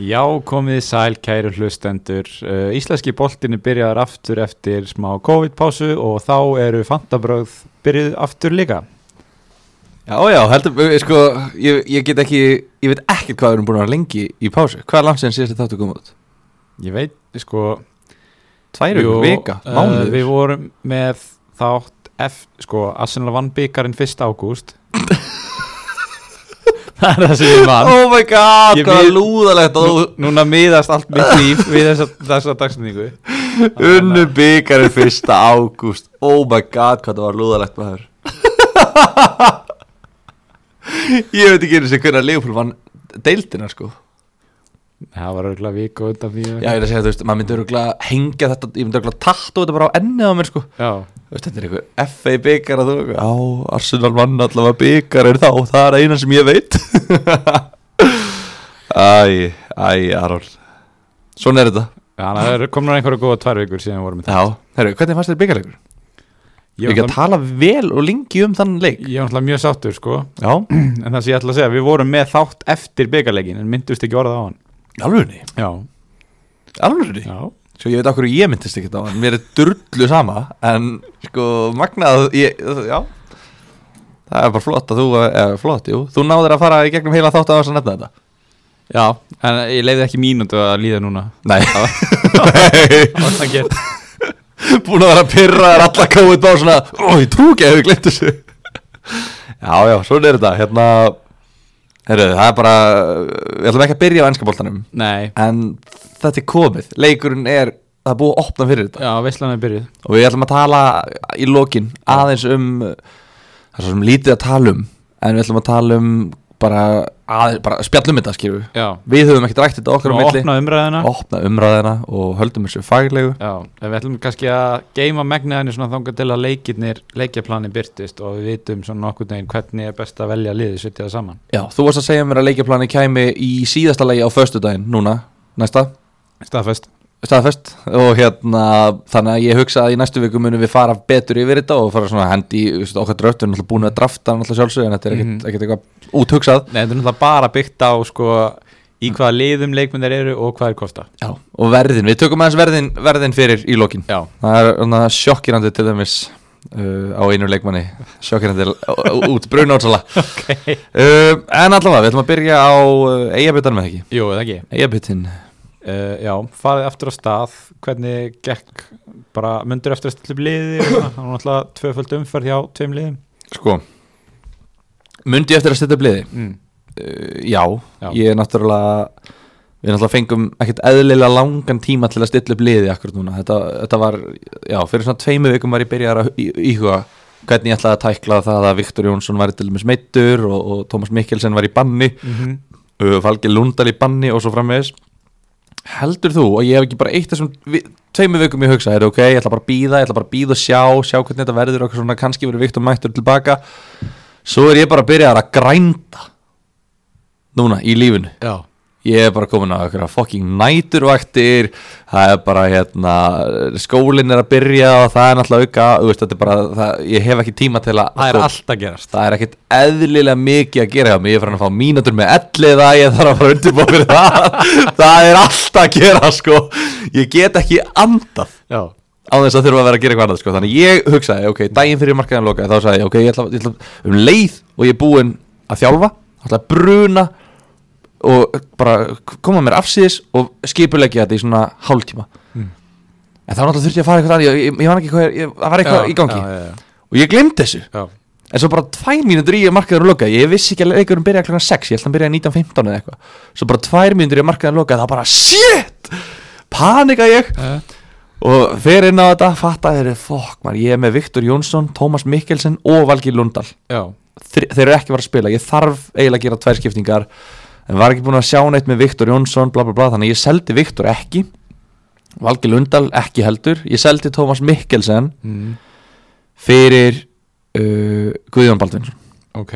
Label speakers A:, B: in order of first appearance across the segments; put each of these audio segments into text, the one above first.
A: Já, komið í sæl, kæru hlustendur. Uh, íslenski boltinni byrjar aftur eftir smá COVID-pásu og þá eru fantabröð byrjuð aftur líka.
B: Já, já, heldur, eh, sko, ég, ég get ekki, ég veit ekkert hvað við erum búin að vera lengi í pásu. Hvað er langt síðan síðast þáttu kom út?
A: Ég veit, sko...
B: Tvær
A: jú,
B: vikur, vika,
A: eh,
B: mánuður.
A: Við vorum með þátt F, sko, Arsenal vann byggarinn 1. ágúst. það er það sem ég vann.
B: Oh my god,
A: Ég
B: hvað
A: við-
B: við... lúðalegt að
A: Nú, núna miðast allt mitt líf við þessa, þessa dagsningu.
B: þú unnu byggarinn fyrsta ágúst. Oh my god, hvað það var lúðalegt maður. ég veit ekki einu sem hvernig að Leopold vann deildina, sko.
A: Það var örgulega viku undan því.
B: Já, ég er að segja, þú veist, maður myndi öruglega hengja þetta, ég myndi öruglega tattu þetta bara á ennið á mér, sko.
A: Já.
B: Þú veist, þetta er einhver FA byggar að þú Já, Arsenal vann allavega byggar er þá, það er eina sem ég veit Æ, æ, Aron Svona er þetta
A: Þannig að það komur einhverju góða tvær vikur síðan við vorum með það.
B: Já, herru, hvernig fannst þér byggarleikur?
A: Ég
B: Ég
A: var
B: ekki að tala vel og lengi um þann leik
A: Ég er náttúrulega mjög sáttur sko
B: Já,
A: En það sem ég ætla að segja, við vorum með þátt eftir byggarleikin En myndust ekki orða á hann
B: alvegni,
A: Já,
B: alvegni
A: já
B: Svo ég veit okkur ég myndist ekkert á hann Mér er durlu sama, en sko magnað, ég, já Það er bara flott að þú, eða flott, jú Þú náður að fara í gegnum heila þátt að þess að nefna þetta
A: Já, en ég leiði ekki mínútu að líða núna
B: Nei
A: Ég
B: búin að vera að pyrra þér alla COVID bara svona, ó, ég trú ekki að við glemt þessu Já, já, svona er þetta hérna, herru, það er bara við ætlum ekki að byrja á ennskaboltanum
A: Nei,
B: en þetta er komið, leikurinn er það er búið að opna fyrir þetta
A: já, veistlan er byrjuð
B: og við ætlum að tala í lokin aðeins um það er svo sem lítið að tala um en við ætlum að tala um bara, aðeins, bara spjallum þetta, skilju
A: Já,
B: við höfum ekkert rætt þetta okkar á
A: og
B: milli
A: opna umræðina
B: opna umræðina og höldum þessu faglegu
A: Já, en við ætlum kannski að geima megnaðinu svona þangað til að leikirnir leikjaplanin byrtist og við vitum svona nokkur neginn hvernig er best að velja liðið setja það saman
B: Já, þú varst að segja mér að leikjaplani kæmi í síðasta lagi á föstudaginn núna, næsta,
A: Staðfest
B: staðfest og hérna, þannig að ég hugsa að í næstu viku munum við fara betur yfir þetta og fara svona að hendi í þú veist, okkar dröft, við erum alltaf búin að drafta hann alltaf sjálfsög en þetta er ekkert
A: Mhm.
B: ekkert eitthvað úthugsað
A: Nei, þetta er náttúrulega bara byggt á sko í hvaða liðum leikmyndir eru og hvað er kosta
B: Já, og verðin, við tökum aðeins verðin, verðin fyrir í lokin
A: Já,
B: Það er svona sjokkirandi til dæmis uh, á einu leikmanni sjokkirandi uh, út, brunátsala
A: ok
B: um, En allavega, við ætlum að byrja á uh, eigabittanum eða ekki
A: Jú, eða ekki
B: Eigabittin,
A: Uh, já, farið aftur á stað hvernig gekk bara myndur eftir að stilla upp liði og svona, það var náttúrulega tvöföld umferð hjá tveim liðum
B: sko Mundi eftir að setja bliði
A: mm.
B: Uh, já,
A: Já.
B: ég er náttúrulega við náttúrulega fengum ekkert eðlilega langan tíma til að stilla upp liði akkur núna þetta, þetta var, já, fyrir svona tveimu vikum var ég byrjar að í- íhuga hvernig ég ætlaði að tækla það að Viktor Jónsson var til dæmis meittur og, og Tómas Mikkelsen var í banni
A: Mm
B: uh, Falki Lundal í banni og svo framvegis heldur þú, og ég hef ekki bara eitt þessum vi, tveimu vikum ég hugsa, er ok, ég ætla bara að býða ég ætla bara að býða og sjá, sjá hvernig þetta verður og svona, kannski verður Viktor mættur tilbaka svo er ég bara að byrja að grænda núna í lífinu
A: Já,
B: ég er bara komin á einhverja fucking næturvaktir það er bara hérna skólinn er að byrja og það er náttúrulega auka þú veist, þetta er bara, það, ég hef ekki tíma til að
A: það er
B: sko,
A: allt að gerast
B: það er ekkit eðlilega mikið að gera hjá mig ég er farin að fá mínútur með elliða ég þarf að fara undirbúa fyrir það það er allt að gera sko ég get ekki andað
A: Já,
B: á þess að þurfa að vera að gera eitthvað annað sko. þannig ég hugsaði, ok, daginn fyrir markaðan loka þá sagði ég, ok, ég ætla, ég ætla um leið og ég er búinn að þjálfa ætla að bruna og bara koma mér afsýðis og skipulegja þetta í svona hálftíma
A: Mm.
B: en þá náttúrulega þurfti ég að fara eitthvað annað ég, ég, ég man ekki hvað, er- ég, það var eitthvað
A: já,
B: í gangi
A: já, já,
B: og ég glemd þessu
A: já.
B: en svo bara tvær mínútur í að markaðan loka ég vissi ekki að leikurinn byrja kl. 6 ég held að hann byrja 19.15 eða eitthvað svo bara tvær mínútur í að markaðan loka þá bara shit panika ég
A: Já.
B: og fer inn á þetta fatta þeir eru fokk man ég er með Viktor Jónsson, Tómas Mikkelsen og Valgi Lundal
A: já,
B: Þri, þeir eru ekki að fara að spila, ég þarf eiginlega að gera tvær skiptingar en var ekki búin að sjá neitt með Viktor Jónsson bla bla bla þannig að ég seldi Viktor ekki Valgi Lundal ekki heldur ég seldi Tómas Mikkelsen
A: mm.
B: fyrir uh, Guðjón Baldvinsson
A: ok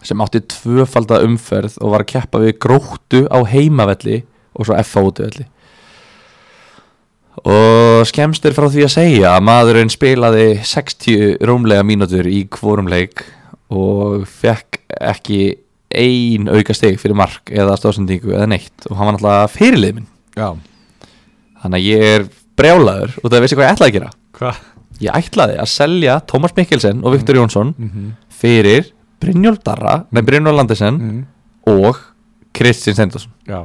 B: sem átti tvöfalda umferð og var að keppa við gróttu á heimavelli og svo F á útivelli og skemmst er frá því að segja að maðurinn spilaði 60 rúmlega mínútur í hvorum leik og fekk ekki ein auka stig fyrir mark eða stóðsendingu eða neitt og hann var náttúrulega fyrirlið minn
A: Já,
B: þannig að ég er brjálaður og það veist ég hvað ég ætlaði að gera
A: hvað?
B: ég ætlaði að selja Tómas Mikkelsen og Viktor Jónsson
A: Mm-hmm.
B: fyrir Brynjólf Darra, nei Brynjólf Landesen og Kristins Henderson
A: Mm. Já,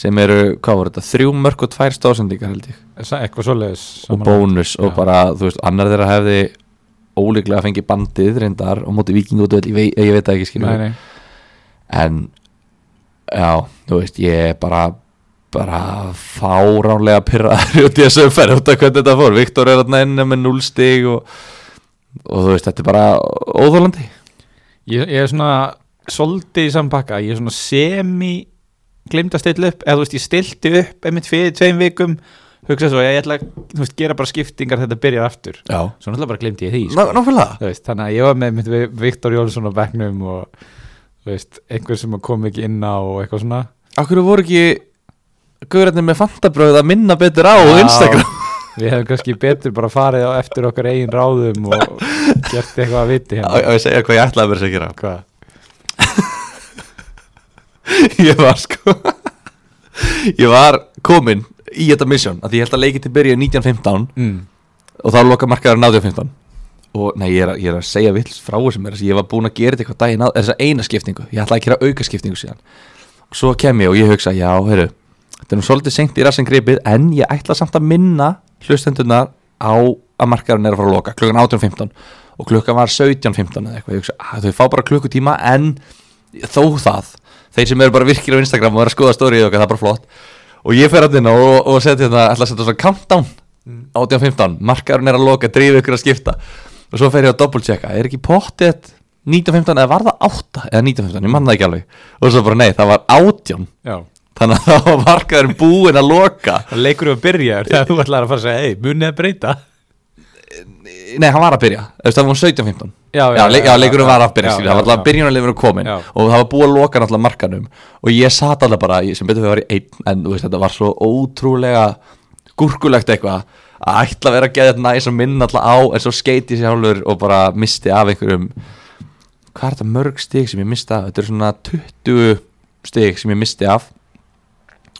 B: sem eru, hvað voru þetta, þrjú mörg og tvær stóðsendingar held ég
A: Sa- eitthvað svoleiðis
B: og bónus og
A: Já.
B: bara, þú veist, annar þeirra hefði óleiklega fengið bandið reyndar og móti vikingu og ég, vei- ég veit það ekki skilur
A: Nei, nei,
B: en já, þú veist, ég er bara bara fáránlega pyrraður út í þessu umferð út af hvernig þetta fór, Viktor er þarna inn með 0 stig og, og þú veist, þetta er bara óþólandi
A: ég, ég er svona svolítið í sampakka, ég er svona semi glemt að stilla upp, eða þú veist ég stilti upp einmitt fyrir tveim vikum hugsa svo, ég ætla að þú veist, gera bara skiptingar þetta byrjar aftur,
B: Já,
A: svo náttúrulega bara glemti ég því sko.
B: nákvæmlega
A: Þú veist, þannig að ég var með einmitt við Viktor Jónsson á bekknum og þú veist, einhver sem kom ekki inn á og eitthvað svona
B: Akkur voru ekki Guðrætni með fantabröð að minna betur á já.
A: Já.
B: Instagram
A: Við hefum kannski betur bara farið á eftir okkar eigin ráðum og gert eitthvað að viti
B: Á- á
A: hérna.
B: ég að segja hvað ég ætlaði að vera sér að gera
A: Hvað?
B: ég var sko ég var komin í þetta misjón að ég held að leikið til byrja 1915
A: Mm.
B: og þá loka markaður 1915 og nei, ég er, að- ég er að segja vill frá þessum er, ég var búin að gera þetta eitthvað daginn að þessa eina skiptingu, ég ætlaði að gera auka skiptingu síðan og svo kem ég og ég hugsa, já, heyrðu þetta er nú svolítið seint í rassin gripið en ég ætla samt að minna hlustendunar á að markaðurinn er að fara að loka klukkan 18.15 og klukkan var 17.15 eða eitthvað, ég hugsa, að þau fá bara klukkutíma en þó það þeir sem eru bara virkir á Instagram og eru að skoða stórið okkar, það er bara flott og ég fer að dinna og, og setja þetta, ætla að setja svona countdown 18.15, markaðurinn er að loka drífið ykkur að skipta og svo fer ég að doppeltjekka, er ekki pottet 19.15 eða var það 8 eða 19.15, ég manna ekki alveg og svo bara nei, það var 18
A: Já.
B: þannig að það var markaðurinn búinn að loka
A: Það leikur við að byrja þér þegar þú ætlar að fara að segja, hei, munið að breyta.
B: Nei, hann var að byrja, þú veist, það var 17-15
A: Já, já,
B: já, leik- já,
A: já,
B: leikurinn
A: já,
B: var að byrja,
A: já,
B: skilur,
A: já,
B: það var alltaf
A: já.
B: byrjunarleifurinn komin
A: Já.
B: og það var búið að loka náttúrulega markanum og ég sat alltaf bara, ég, sem betur við var í einn en þú veist, þetta var svo ótrúlega gúrkulegt eitthvað að ætla að vera að geða þetta næs og minna alltaf á en svo skeiti sér hálfur og bara misti af einhverjum hvað er þetta mörg stig sem ég misti af, þetta er svona 20 stig sem ég misti af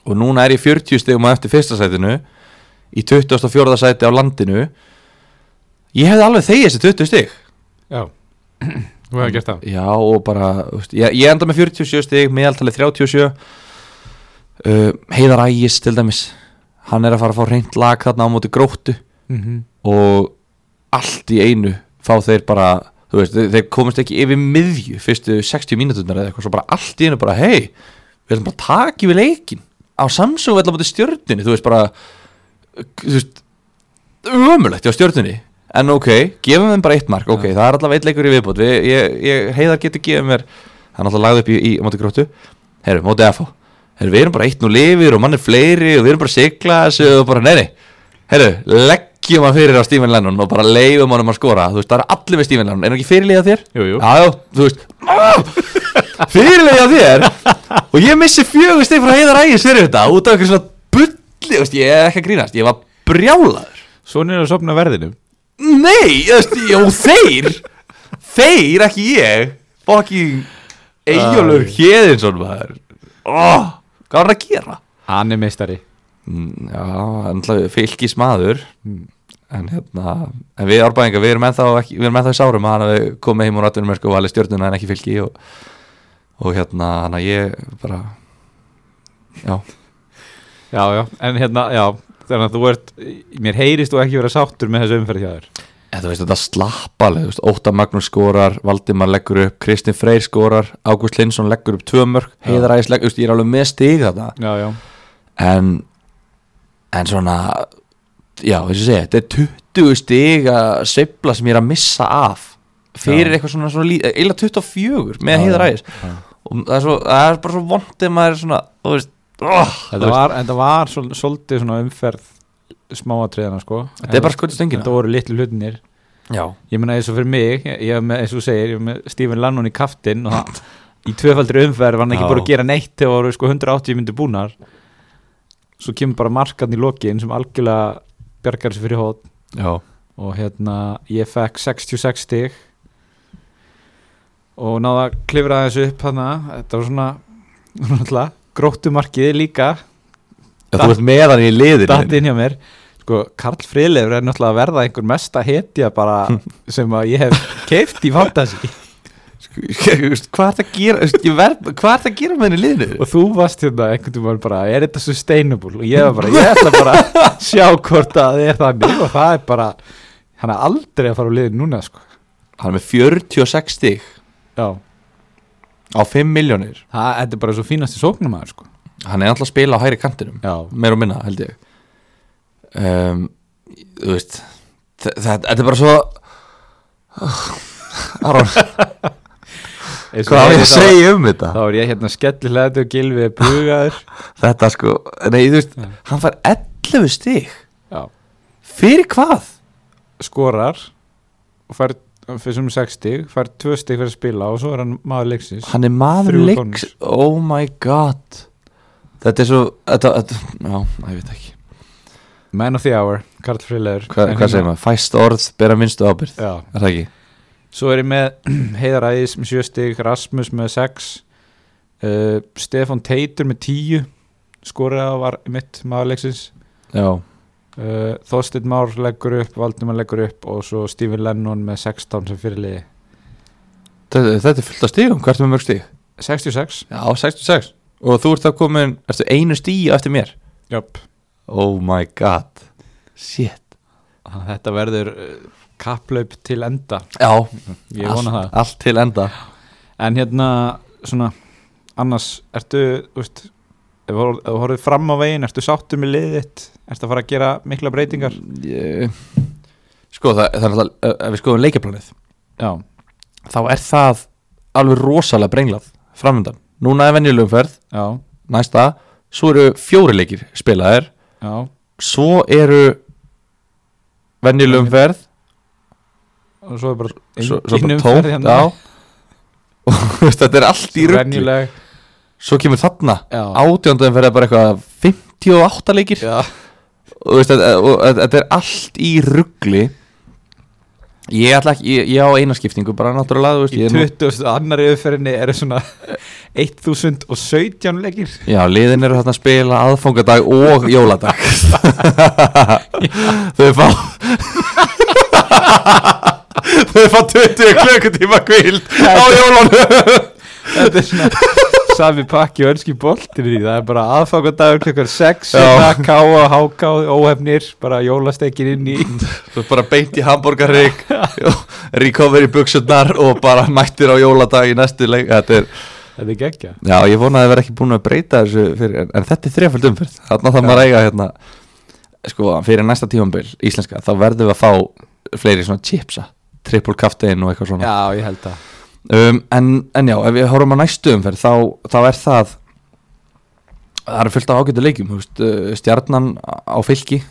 B: og núna er ég 40 stigum að eftir fyrsta sætinu í 24. sæti á landinu ég hefði alveg þegið þessi 20 stig
A: Já. Þú hefur gert það.
B: Já og bara, þú veist, ég, ég enda með 47 stig, meðaltalið 37 uh, Heiðar Ægis til dæmis Hann er að fara að fá reynd lag þarna á móti gróttu
A: Mm -hmm.
B: Og allt í einu fá þeir bara, þú veist, þeir, þeir komist ekki yfir miðju Fyrstu 60 mínúturnar eða eitthvað Svo bara allt í einu bara, hei, við ætlum bara að taka yfir leikin Á Samsung við ætlum að búti stjörnunni, þú veist bara Þú veist, ömulegt á stjörnunni En ok, gefum þeim bara eitt mark Ok,
A: Já.
B: það er allavega eitt leikur í viðbútt við, ég, ég, Heiðar getur gefið mér Hann alltaf lagði upp í, í á móti gróttu Herru, móti FH Herru, við erum bara eitt nú lifir og mann er fleiri Og við erum bara að sigla þessu og bara neini Herru, leggjum hann fyrir á Stephen Lennon Og bara leifum honum að skora Þú veist, það er allir með Stephen Lennon Er hann ekki fyrirlega þér?
A: Jú, jú.
B: Já, já, þú veist ah, Fyrirlega þér Og ég missi fjögur stið frá heiðar ægis fyrir þetta Út af einhverjum svona bulli þú veist, Ég er ekki að grínast, ég var brjálaður
A: Svona er að sopna verðinum.
B: Nei, þú veist, já, þeir Þeir, ekki ég Fucking Eyjólfur
A: Æ.
B: Héðinsson maður oh, Hvað var hann að gera?
A: Hann er meistari.
B: Mm, Já, hann ætlaði fylgis maður
A: Mm.
B: En hérna En við árbæðingar, við erum ennþá, ekki, við erum ennþá í sárum að hann hafi komið heim úr rættunum og valið stjórnuna en ekki fylgi og, og hérna, hann að ég bara Já,
A: Já, já, en hérna, já, þannig að þú ert, mér heyrist þú ekki vera sáttur með þessu umferð hjá þér.
B: En þú veist þetta slapp alveg, þú veist, Óta Magnús skorar, Valdimar leggur upp, Kristinn Freyr skorar, Ágúst Lindsson leggur upp tvö mörg,
A: Já.
B: Heiðar Ægis leggur, þú veist, ég er alveg með stig þetta.
A: Já, já.
B: En, en svona, já, þess að segja, þetta er 20 stig að sveifla sem ég er að missa af fyrir
A: Já.
B: eitthvað svona, svona lí- eila 24 með
A: Já,
B: Heiðar
A: já,
B: Ægis.
A: já.
B: Og það er, svo, það er bara svo vondið maður er svona, þú veist, oh,
A: Þetta var, þetta var svol- svolítið svona umferð smáatriðana, sko.
B: Þetta er bara skotið stöngina.
A: Þetta voru litlu hlutinir.
B: Já,
A: Ég meina eins og fyrir mig, ég ég hef með, eins og þú segir, ég hef með Stephen Lannon í kaftin og það, í tvöfaldri umferð var hann ekki
B: Já.
A: bara að gera neitt þegar voru sko 180 myndir búnar. Svo kemur bara markarn í lokin sem algjörlega bjargar sér fyrir hótt
B: já.
A: og hérna ég fekk 66 stig og náða að klifra þessu upp hana þetta var svona náttúrulega, gróttumarkið líka
B: Já, þú ert með hann í liðinu
A: datt inn hjá mér sko, Karl Friðleifur er náttúrulega að verða einhver mesta hetja bara sem að ég hef keift í fantasy
B: Hvað er það að gera Þú veist, ég verð- Hvað er það að gera með henni í liðinu
A: og þú varst hérna einhvern veginn bara er þetta sustainable og ég var bara, ég ætla bara að sjá hvort að það er þannig og það er bara hann er aldrei að fara á liðin núna sko
B: Hann er með 46 stig
A: já,
B: á 5 miljónir
A: það, þetta er bara svo fínasti sóknumæður sko
B: Hann er alltaf að spila á hæri kantinum
A: já,
B: Meir og minna held ég um, Þú veist þe- þe- Þetta er bara svo Aron, hvað á ég að segja um þetta?
A: hérna þá er ég hérna skellilegði og gilfið er bugaður
B: Þetta sko, nei þú veist
A: Já.
B: Hann fær 11 stig
A: já,
B: Fyrir hvað?
A: skorar og fær fyrir sem 60, fær 2 stig fyrir að spila og svo er hann maður leiksins
B: Hann er maður
A: Þrjú
B: leiks Oh my god Þetta er svo þetta, þetta, Já, ég veit ekki
A: Man of the Hour, Karl Friðleifur
B: Hva,
A: En
B: Hvað segir
A: hérna-
B: maður? Fæst orð, bera minnstu ábyrð
A: já,
B: Er það ekki?
A: Svo er ég með Heiðar Æðis með 7 stig, Rasmus með 6 uh, Stefan Teitur með 10 skoraða var mitt maðurleiksins
B: Já
A: uh, Þorsteinn Már leggur upp, Valdimar leggur upp og svo Stephen Lennon með 16 sem fyrirliði
B: Þetta, þetta er fullt af stigum, hvert er með mörg stig?
A: 66
B: Já, 66 Og þú ert það komin, ertu einu stíu eftir mér
A: Jöp.
B: Oh my god Shit
A: Þetta verður uh, kapplaup til enda
B: Já,
A: Ég
B: allt,
A: vona það
B: allt til enda
A: En hérna svona annars ertu úst, ef þú horf- ef þú horfið fram á veginn ertu sáttu með liðið þitt ertu að fara að gera mikla breytingar
B: Ég- Sko, það, það er alltaf Ef við skoðum leikjaplanið
A: Já,
B: þá er það alveg rosalega brenglað framöndan. Núna er venjulegumferð,
A: já,
B: næsta, svo eru fjóri leikir spilaðir,
A: já
B: svo eru venjulegumferð,
A: og svo er bara
B: svo, svo bara tómt,
A: hérna.
B: já. Og þú veist, þetta er allt hérna. í rugli.
A: venjuleg
B: Svo kemur þarna,
A: já,
B: átjóndum fyrir bara eitthvað 58 leikir.
A: já.
B: Og þú veist, þetta- og þetta þetta er allt í rugli. Ég ætla ekki, ég, ég á eina skiptingu bara náttúrulega, þú veist,
A: í
B: ég er nú-
A: 20. annari auðferðinni eru svona 1017 leikir
B: Já, liðin eru þarna að spila aðfangadag og jóladag Þau fá Þau fá 20 klukkutíma kvild á jólunum
A: þetta er svona sami pakki og önski boltin í því. það er bara aðfangadagur klukkar 6
B: Já.
A: káa, háká, óhefnir bara jólastekin inn í
B: Þú ert bara beint í hambúrgarrygg Recovery buksundar og bara mættir á jóladag í næstu leik Þetta er,
A: þetta er geggja
B: Já, ég vona að það verði ekki búin að breyta þessu fyrir, en, en þetta er þrefald umferð Þarna þarf maður að eiga hérna Sko, fyrir næsta tífambil íslenska þá verðum við að fá fleiri svona chipsa Triple kaftein og eitthvað svona
A: já, ég held það
B: um, en, en já, ef við horfum að næstu umferð þá, þá er það það eru fullt af ágættu leikjum þú veist, uh, stjarnan á fylki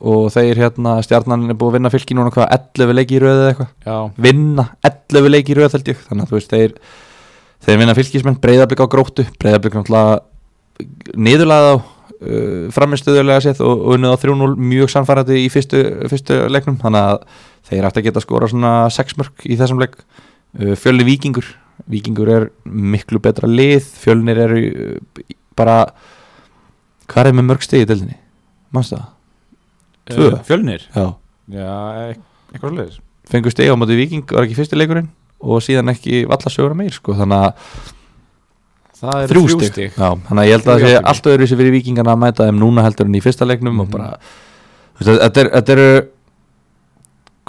B: og þeir hérna stjarnan er búið að vinna fylki núna hvað 11 leiki í röð eða eitthvað
A: já,
B: vinna 11 leiki í röð held ég þannig að þú veist þeir, þeir vinna fylkismenn breyðablík á gróttu breyðablík náttúrulega niðurlega á uh, framistuðulega séð og, og unnið á 3-0 mjög sannfærandi í fyrstu, fyrstu leiknum þannig að þeir ætti að geta skora svona 6 mörg í þessum leik uh, fjölni vikingur vikingur er miklu betra lið fjölnir eru uh, bara hvað er með mörg stegi í delinni? Manstu það? Tvö.
A: Eh, fjölnir
B: Já
A: já, e- eitthvað sliðis
B: fengur steg á móti viking var ekki fyrsti leikurinn og síðan ekki valla sögur meir sko, þannig að
A: það eru
B: þrjú stig, Já, þannig að ég held að
A: Þrjú
B: það sé
A: jafntefli.
B: allt öðru sem fyrir vikingana að mæta þeim núna heldur en í fyrsta leiknum og
A: Mhm.
B: bara þú veist, þetta er- þetta eru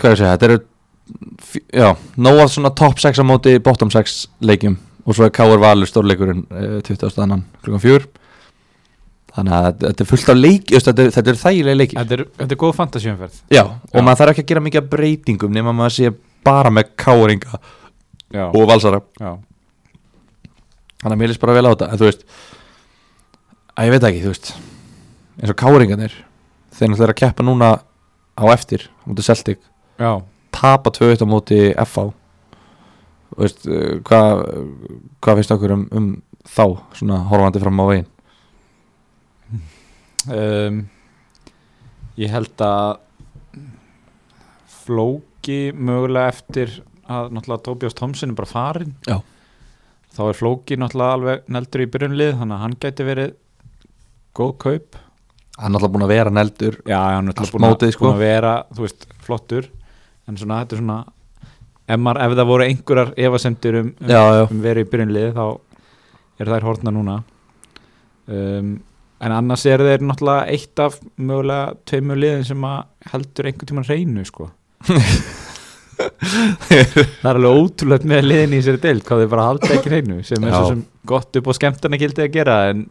B: hvað er að segja, þetta eru fj- já, nóg að svona top 6 á móti bottom 6 leikjum og svo er K.R. Valur stórleikurinn eh, 20. annan klukkan 4 þannig að þetta- þetta er fullt af leiki þetta er- þetta eru þægilega leiki
A: þetta er, þetta er góð fantasíumferð
B: já, og
A: Já.
B: maður þarf ekki að gera mikið af breytingum nema maður sé bara með K.R.
A: já,
B: og Valsara
A: já,
B: þannig að mér lýst bara vel á þetta en þú veist að ég veit ekki, þú veist eins og káringarnir þeir náttúrulega eru að keppa núna á eftir á móti Celtic,
A: já
B: tapa 2-1 á móti FH Þú veist, eh, hvað hvað finnst okkur um, um þá svona horfandi fram á veginn
A: um, ég held að flóki mögulega eftir að náttúrulega Tobias Thompson er bara farinn
B: Já.
A: þá er Flóki náttúrulega alveg neldur í byrjunlið þannig að hann gæti verið góð kaup
B: hann er alltaf búin að vera neldur
A: Já, hann er
B: Allt
A: náttúrulega búin, að-
B: mótið, sko.
A: búin að vera þú veist, flottur en svona þetta er svona ef, maður, ef það voru einhverjar efasemtur um, um,
B: já, já,
A: um verið í byrjunlið þá er þær hortna núna um, en annars er þeir náttúrulega eitt af mögulega tveimur liðin sem að heldur einhvern tímann reynu sko það er alveg ótrúlegt með liðin í þessari deild hvað þau bara halda ekki reynu sem er
B: Já.
A: svo sem gott upp á skemmtana gildi að gera en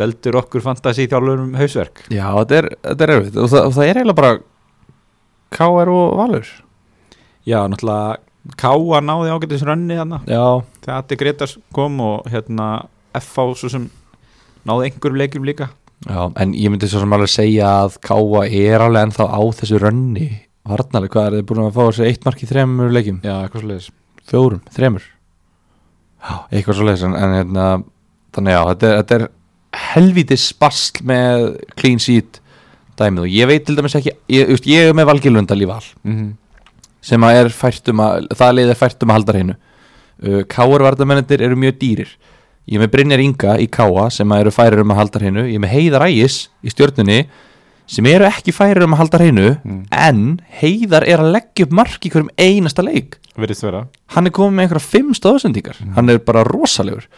A: veldur okkur fantasi þjálfurum hausverk
B: já þetta er, þetta er erfitt og það, og það er eiginlega bara KR og Valur
A: já náttúrulega Káa náði ágætis rönni þarna
B: já,
A: þegar Atti Gretars kom og hérna FH svo sem náði einhverjum leikjum líka
B: já en ég myndi svo sem alveg segja að KR er alveg ennþá á þessu rönni varnarlega, hvað er þið búin að fá þessu eitt mark í þremur leikjum,
A: já eitthvað sliðis
B: fjórum, þremur já, eitthvað svo leiðis en, en hérna, þannig já, þetta er, þetta er helvítið spasl með clean sheet dæmið og ég veit til dæmis ekki, ég, þú veist, ég er með Valgilundal í val
A: mm
B: sem að er fært um að það liðið er fært um að halda hreinu uh, Káar vardamennir eru mjög dýrir ég er með Brynjar Inga í Káa sem að eru færir um að halda hreinu ég er með Heiðar Ægis í stjórnunni sem eru ekki færir um að halda hreinu
A: Mm.
B: en Heiðar er að leggja upp mark í hverjum einasta leik
A: verðist vera
B: hann er komið með einhverja fimm stóðsendingar hann er bara rosalegur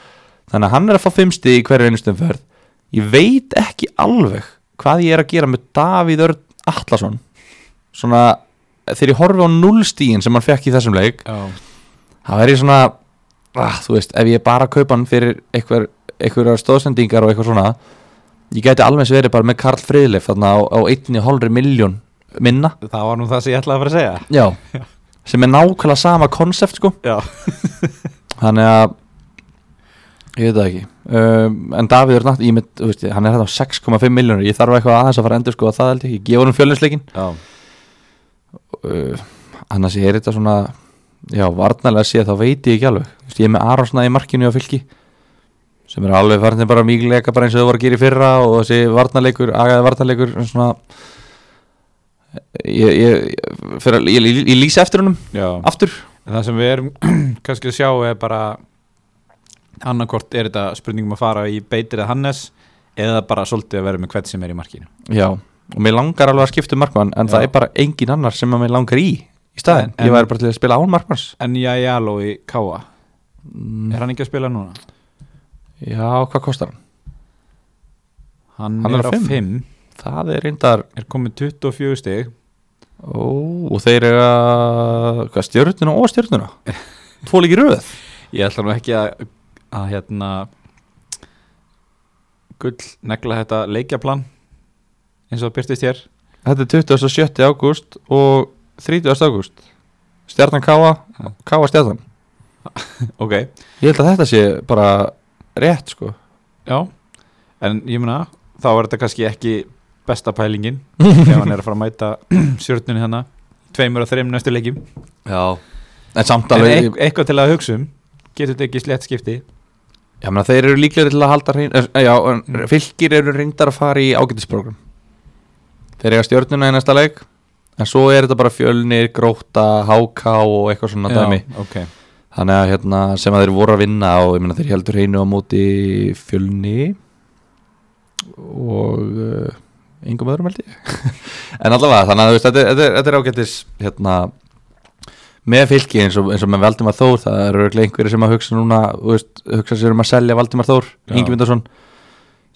B: þannig að hann er að fá fimm stig í hverju einustum ferð ég veit ekki alveg hvað ég er að gera með Davíð Örn Atlason svona þegar ég horfi á nullstíin sem hann fekk í þessum leik
A: já.
B: það er ég svona ah, þú veist, ef ég bara kaupa hann fyrir einhver, einhverjar stóðsendingar og eitthvað svona ég gæti alveg eins verið bara með Karl Friðleif þarna á, á 1,5 miljón minna
A: það var nú það sem ég ætlaði að fara að segja
B: Já. sem er nákvæmlega sama konsept sko
A: já,
B: Þannig að Ég veit það ekki um, En Davíð er nátt, ég mynd, þú veist, hann er hérna á 6,5 miljónur Ég þarf eitthvað aðeins að fara að endur sko að það held ég ekki Gefa hann fjölinsleikin
A: já.
B: uh, Annars er þetta svona Já, varnarlega sé þá veit ég ekki alveg Þú veist, Ég er með Aronsna í markinu á fylki Sem er alveg farin bara mýgleika Bara eins og þau voru að gera í fyrra Og þessi varnarleikur, agaði varnarleikur Svona Ég, ég, fyrir, að- ég, ég, ég lýsi eftir honum Aftur
A: En það sem við erum kannski að sjá er bara annarkort er þetta spurningum að fara í beitir eða Hannes eða bara svolítið að vera með hvert sem er í markinu
B: Já, og mér langar alveg að skipta um markmann en
A: Já.
B: það er bara engin annar sem að mér langar í í staðinn,
A: En-
B: ég væri bara til að spila án markmanns
A: en Jajalo í Káa
B: mm,
A: er hann ekki að spila núna?
B: Já, hvað kostar hann?
A: hann,
B: Hann
A: er, á 5
B: Það er reyndar
A: er komið 24 stig
B: Ó, og þeir eru að hvað, stjörnuna og stjörnuna Tvo líki röð
A: ég ætla nú ekki að, að hérna gull negla þetta leikjaplan eins og það byrtist hér
B: Þetta er 27. ágúst og 30. ágúst Stjarnan Káa, Káa Stjarnan
A: ok,
B: Ég held að þetta sé bara rétt sko
A: já en ég meina, þá er þetta kannski ekki besta pælingin ef hann er að fara að mæta stjórnunni hana tveimur og þreim næstu leikjum
B: Já En samt
A: en
B: alveg
A: eit, eitthvað til að hugsa um getur þetta ekki slett skipti
B: Já, menn þeir eru líklegri til að halda hrein, er, já, en
A: Mm.
B: fylgir eru reyndar að fara í ágætisprogram Þeir eiga stjórnuna í næsta leik En svo er þetta bara fjölnir, gróta, háká og eitthvað svona dæmi
A: ok,
B: Þannig að hérna, sem að þeir voru að vinna og ég meina þeir heldur hreinu á móti fjölni og uh, yngum öðrum held ég En allavega, þannig að þú veist, þetta, er- þetta, er- þetta er ágætis hérna, með fylki eins og, eins og með Valdimar Þór það eru örugglega einhverjir sem að hugsa núna þú veist, hugsa sér um að selja Valdimar Þór
A: Já.
B: Ingemyndarsson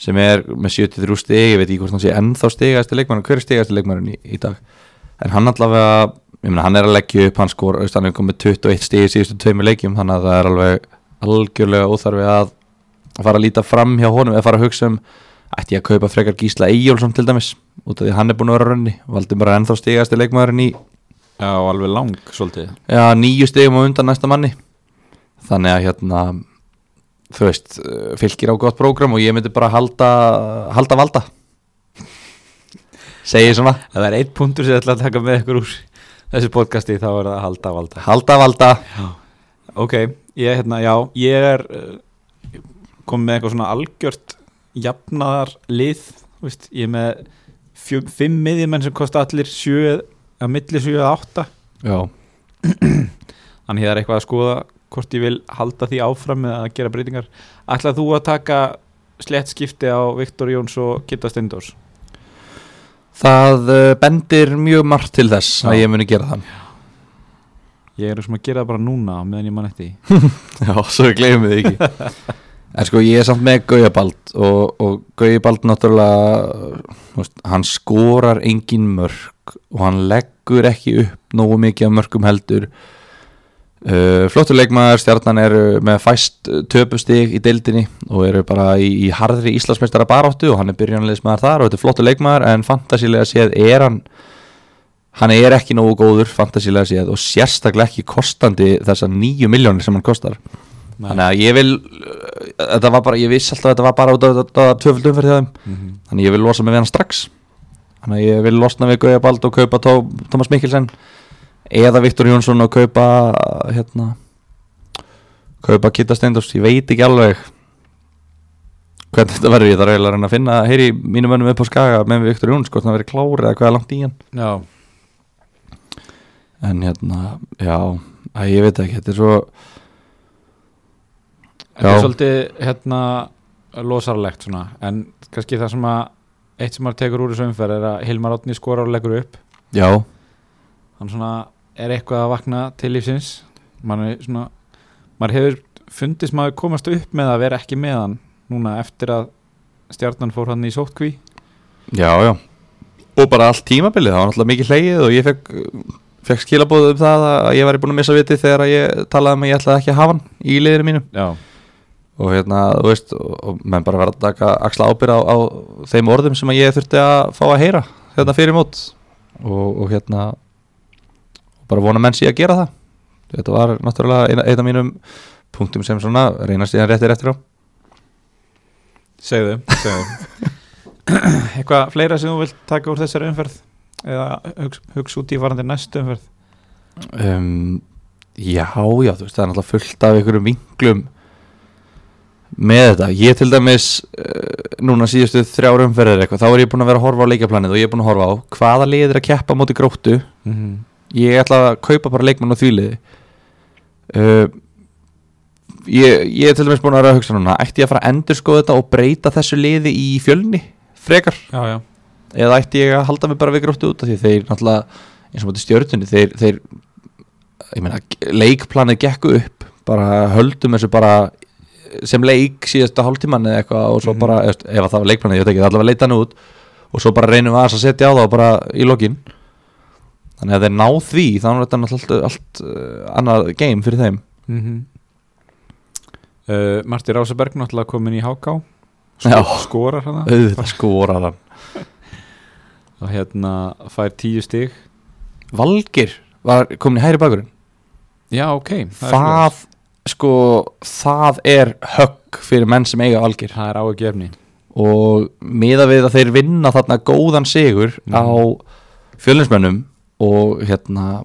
B: sem er með 73 stig, ég veit ekki hvort hann sé ennþá stigasti leikmann, hver er stigasti leikmann í, í dag en hann allavega ég meina hann er að leggja upp, hann skor veist, hann er komið 21 stig í síðustu tveimur leikjum þannig að það er alveg algjörlega óþarfi að fara að líta fram hjá honum eða fara að hugsa um ætti ég að kaupa frekar Gísla Eyjólfsson til dæmis út af því að hann er búin að vera raunni valdi bara ennþá stigasti leikmaðurinn í
A: já og alveg lang svolítið
B: já, nýju stigum á undan næsta manni þannig að hérna þú veist, eh, fylgir á gott prógram og ég myndi bara halda halda valda segi ég svona
A: ef það er eitt punktur sem ég ætla að taka með ykkur úr þessu podcasti þá er það að halda að valda
B: halda valda
A: ok, ég, hérna, já, ég er uh, komið með eitthvað svona algjört jafnaðar lið þú veist, ég er með fjö, fimm miðjumenn sem kosta allir sjö að milli sjö að átta
B: já,
A: hann hefðar eitthvað að skoða hvort ég vil halda því áfram eða að gera breytingar ætlað þú að taka slett skipti á Viktor Jóns og Kitta Steindors
B: Það uh, bendir mjög margt til þess
A: Já.
B: að ég muni gera það
A: ég er svona að gera það bara núna á meðan ég man eftir því.
B: Já, svo við gleymum við ekki En sko, ég er samt með Gaujabald og, og Gaujabald náttúrulega þú veist, hann skorar engin mörk og hann leggur ekki upp nógu mikið af mörkum heldur uh, Flottur leikmaður stjarnan eru með fæst uh, töpustig í deildinni og eru bara í, í harðri Íslandsmeistara baráttu og hann er byrjanleismæður þar og þetta er flottur leikmaður en fantasílega séð er hann hann er ekki nógu góður fantasílega séð og sérstaklega ekki kostandi þessar nýju miljónir sem hann kostar
A: Nei.
B: þannig að ég vil uh, þetta var bara, ég vissi alltaf að þetta var bara út af þetta tvöföldum fyrir þeim
A: Mhm.
B: þannig að ég vil losa mig við hann strax þannig að ég vil losna við Gauja Bald og kaupa Tó, Thomas Mikkelsen eða Viktor Jónsson og kaupa uh, hérna kaupa Kitta Steindors, ég veit ekki alveg hvernig þetta verður ég þarf eiginlega að reyna að finna, heyri mínum önum upp á skaga með Viktor Jóns, hvort hann verið klárið eða hvað er langt í hann
A: já,
B: en hérna, já æ, ég veit ekki, þetta er svo
A: þetta
B: Já.
A: er svolítið hérna losarlegt svona en kannski það sem að eitt sem maður tekur úr þessu umferð er að Hilmar Átni skorar og leggur upp
B: já,
A: hann svona er eitthvað að vakna til lífsins maður, er svona, maður hefur fundist maður komast upp með að vera ekki með hann núna eftir að stjarnan fór hann í sótkví
B: já, já og bara allt tímabilið, það var náttúrulega mikið hlegið og ég fekk, fekk skilabóð um það að ég væri búin að missa vitið þegar að ég talaði um að ég ætlaði ekki að hafa hann í liðinu mínu
A: já,
B: og hérna, þú veist, og, og menn bara verða að taka axla ábyrð á, á þeim orðum sem að ég þurfti að fá að heyra hérna fyrir mót og, og hérna bara vona menn sé að gera það þetta var náttúrulega eina- einn af mínum punktum sem svona reynast síðan réttir eftir á
A: segðu, segðu. eitthvað fleira sem þú vilt taka úr þessari umferð eða hugsa, hugsa út í varandi næstu umferð
B: um, Já, já, þú veist, það er náttúrulega fullt af einhverjum vinglum með þetta, ég til dæmis uh, núna síðustu þrjárum fyrir eitthvað, þá er ég búin að vera að horfa á leikjaplanið og ég er búin að horfa á hvaða liðir að keppa á móti gróttu
A: mm -hmm.
B: ég ætla að kaupa bara leikmann á því liði uh, ég, ég er til dæmis búin að vera að hugsa núna ætti ég að fara að endurskoða þetta og breyta þessu liði í fjölni frekar
A: já, já,
B: eða ætti ég að halda mig bara við gróttu út af því þeir náttúrulega eins og mútið stjörnunni þeir, þeir ég meina leikplanið gekk upp bara höldum þessu bara sem leik síðasta hálftíman eða eitthvað og svo
A: Mhm.
B: bara, eða, ef það var leikplanið, ég veit ekki, það er allavega leita hann út og svo bara reynum við aðeins að setja á það og bara í lokin þannig að þeir ná því þá er þetta náttúrulega allt, allt uh, annað game fyrir þeim
A: mm uh, Marti Rásaberg náttúrulega komin í Háká
B: Já. Eh.
A: skorar hana
B: auðvitað skorar hann
A: og hérna fær tíu stig
B: Valgir var komin í hæri bakurinn
A: já, ok, það er svoleiðis.
B: það, sko, það er högg fyrir menn sem eiga Valgir
A: það er áhugjefni
B: og miða við að þeir vinna þarna góðan sigur
A: Mhm.
B: á fjölinsmönnum og hérna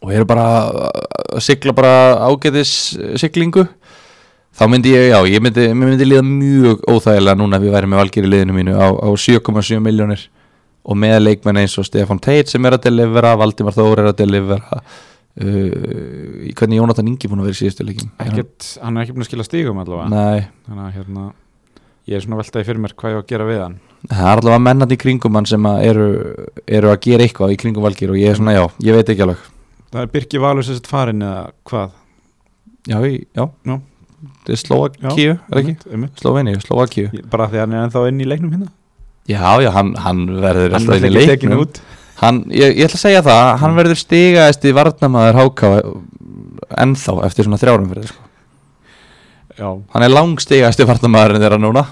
B: og eru bara að sigla bara ágætis eh, siglingu þá myndi ég, já, ég myndi, mér myndi líða mjög óþægilega núna ef ég væri með valgir í liðinu mínu á, á 7,7 miljónir og með leikmenn eins og Stefan Teit sem er að delivera, Valdimar Þór er að delivera uh, hvernig Jónatan Ingi búin að vera í síðustu leikin
A: Ekkert, hann er ekki búin að skila stigum allavega
B: Nei,
A: þannig að hérna ég er svona veltaði fyrir mér hvað ég á að gera við hann
B: Það er allavega mennandi í kringum hann sem að eru, eru að gera eitthvað í kringum valgir og ég er svona, já, ég veit ekki alveg
A: það er Birki Valur sem sett farin eða hvað
B: Já, ég, já,
A: Já.
B: Það er Slovakíu, er ekki?
A: Einmitt, einmitt.
B: Sloveni, Slovakíu
A: Ég- bara því að hann er ennþá inn í leiknum hérna
B: Já, já, hann, hann verður
A: hann
B: alltaf inn í
A: ekki tekin
B: leiknum
A: út Mm.
B: hann, ég, ég ætla að segja það, hann verður stigaðist í varnamaður háká eh, ennþá eftir svona þrjárum fyrir sko.
A: já,
B: Hann er langstigaðist í varnamaðurinn þeirra núna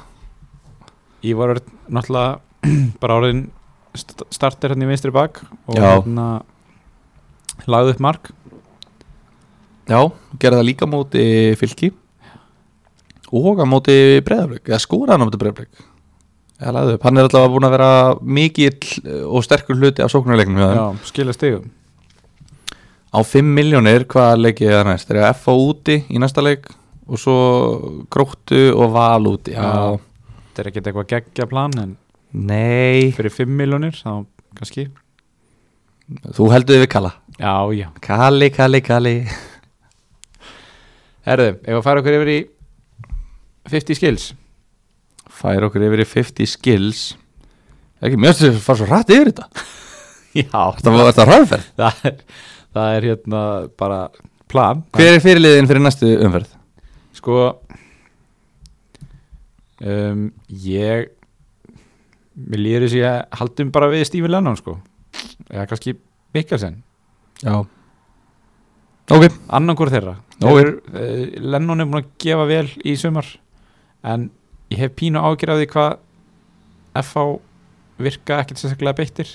A: ég var náttúrulega bara orðin st- starter hérna í vinstri bak og
B: Já.
A: hérna lagði upp mark
B: Já, gerði það líka á móti fylki og á móti breyðablík, eða skoraði hann á móti breyðablík eða lagði upp, hann er alltaf búin að vera mikill eh, og sterkur hluti af sóknarleiknum hjá þeim
A: já, skila stigum
B: á 5 miljónir, hvaða leikið er það næst er það FA úti í næsta leik og svo gróttu og val úti
A: Já. þetta er ekkert eitthvað geggja plan en
B: nei
A: fyrir 5 miljónir þá kannski
B: þú heldur þið við kalla
A: Já, já
B: Kali, Kali, Kali
A: Herðu, ef að fara okkur yfir í 50 skills
B: Fær okkur yfir í 50 skills Ekki, mér finnst þess að fara svo rætt yfir þetta
A: Já,
B: Þetta var þetta ræðferð
A: það er, það er hérna bara plan
B: Hver er fyrirliðin fyrir næstu umferð?
A: Sko um, Ég Mér líður þess að haldum um bara við Stífi Lennon sko eða kannski Mikkelsen
B: Já Ok,
A: annarkur þeirra
B: Nú er-
A: uh, Lennon er búin að gefa vel í sumar en ég hef pínu ágjör af því hvað FH virka ekkert sérstaklega beittir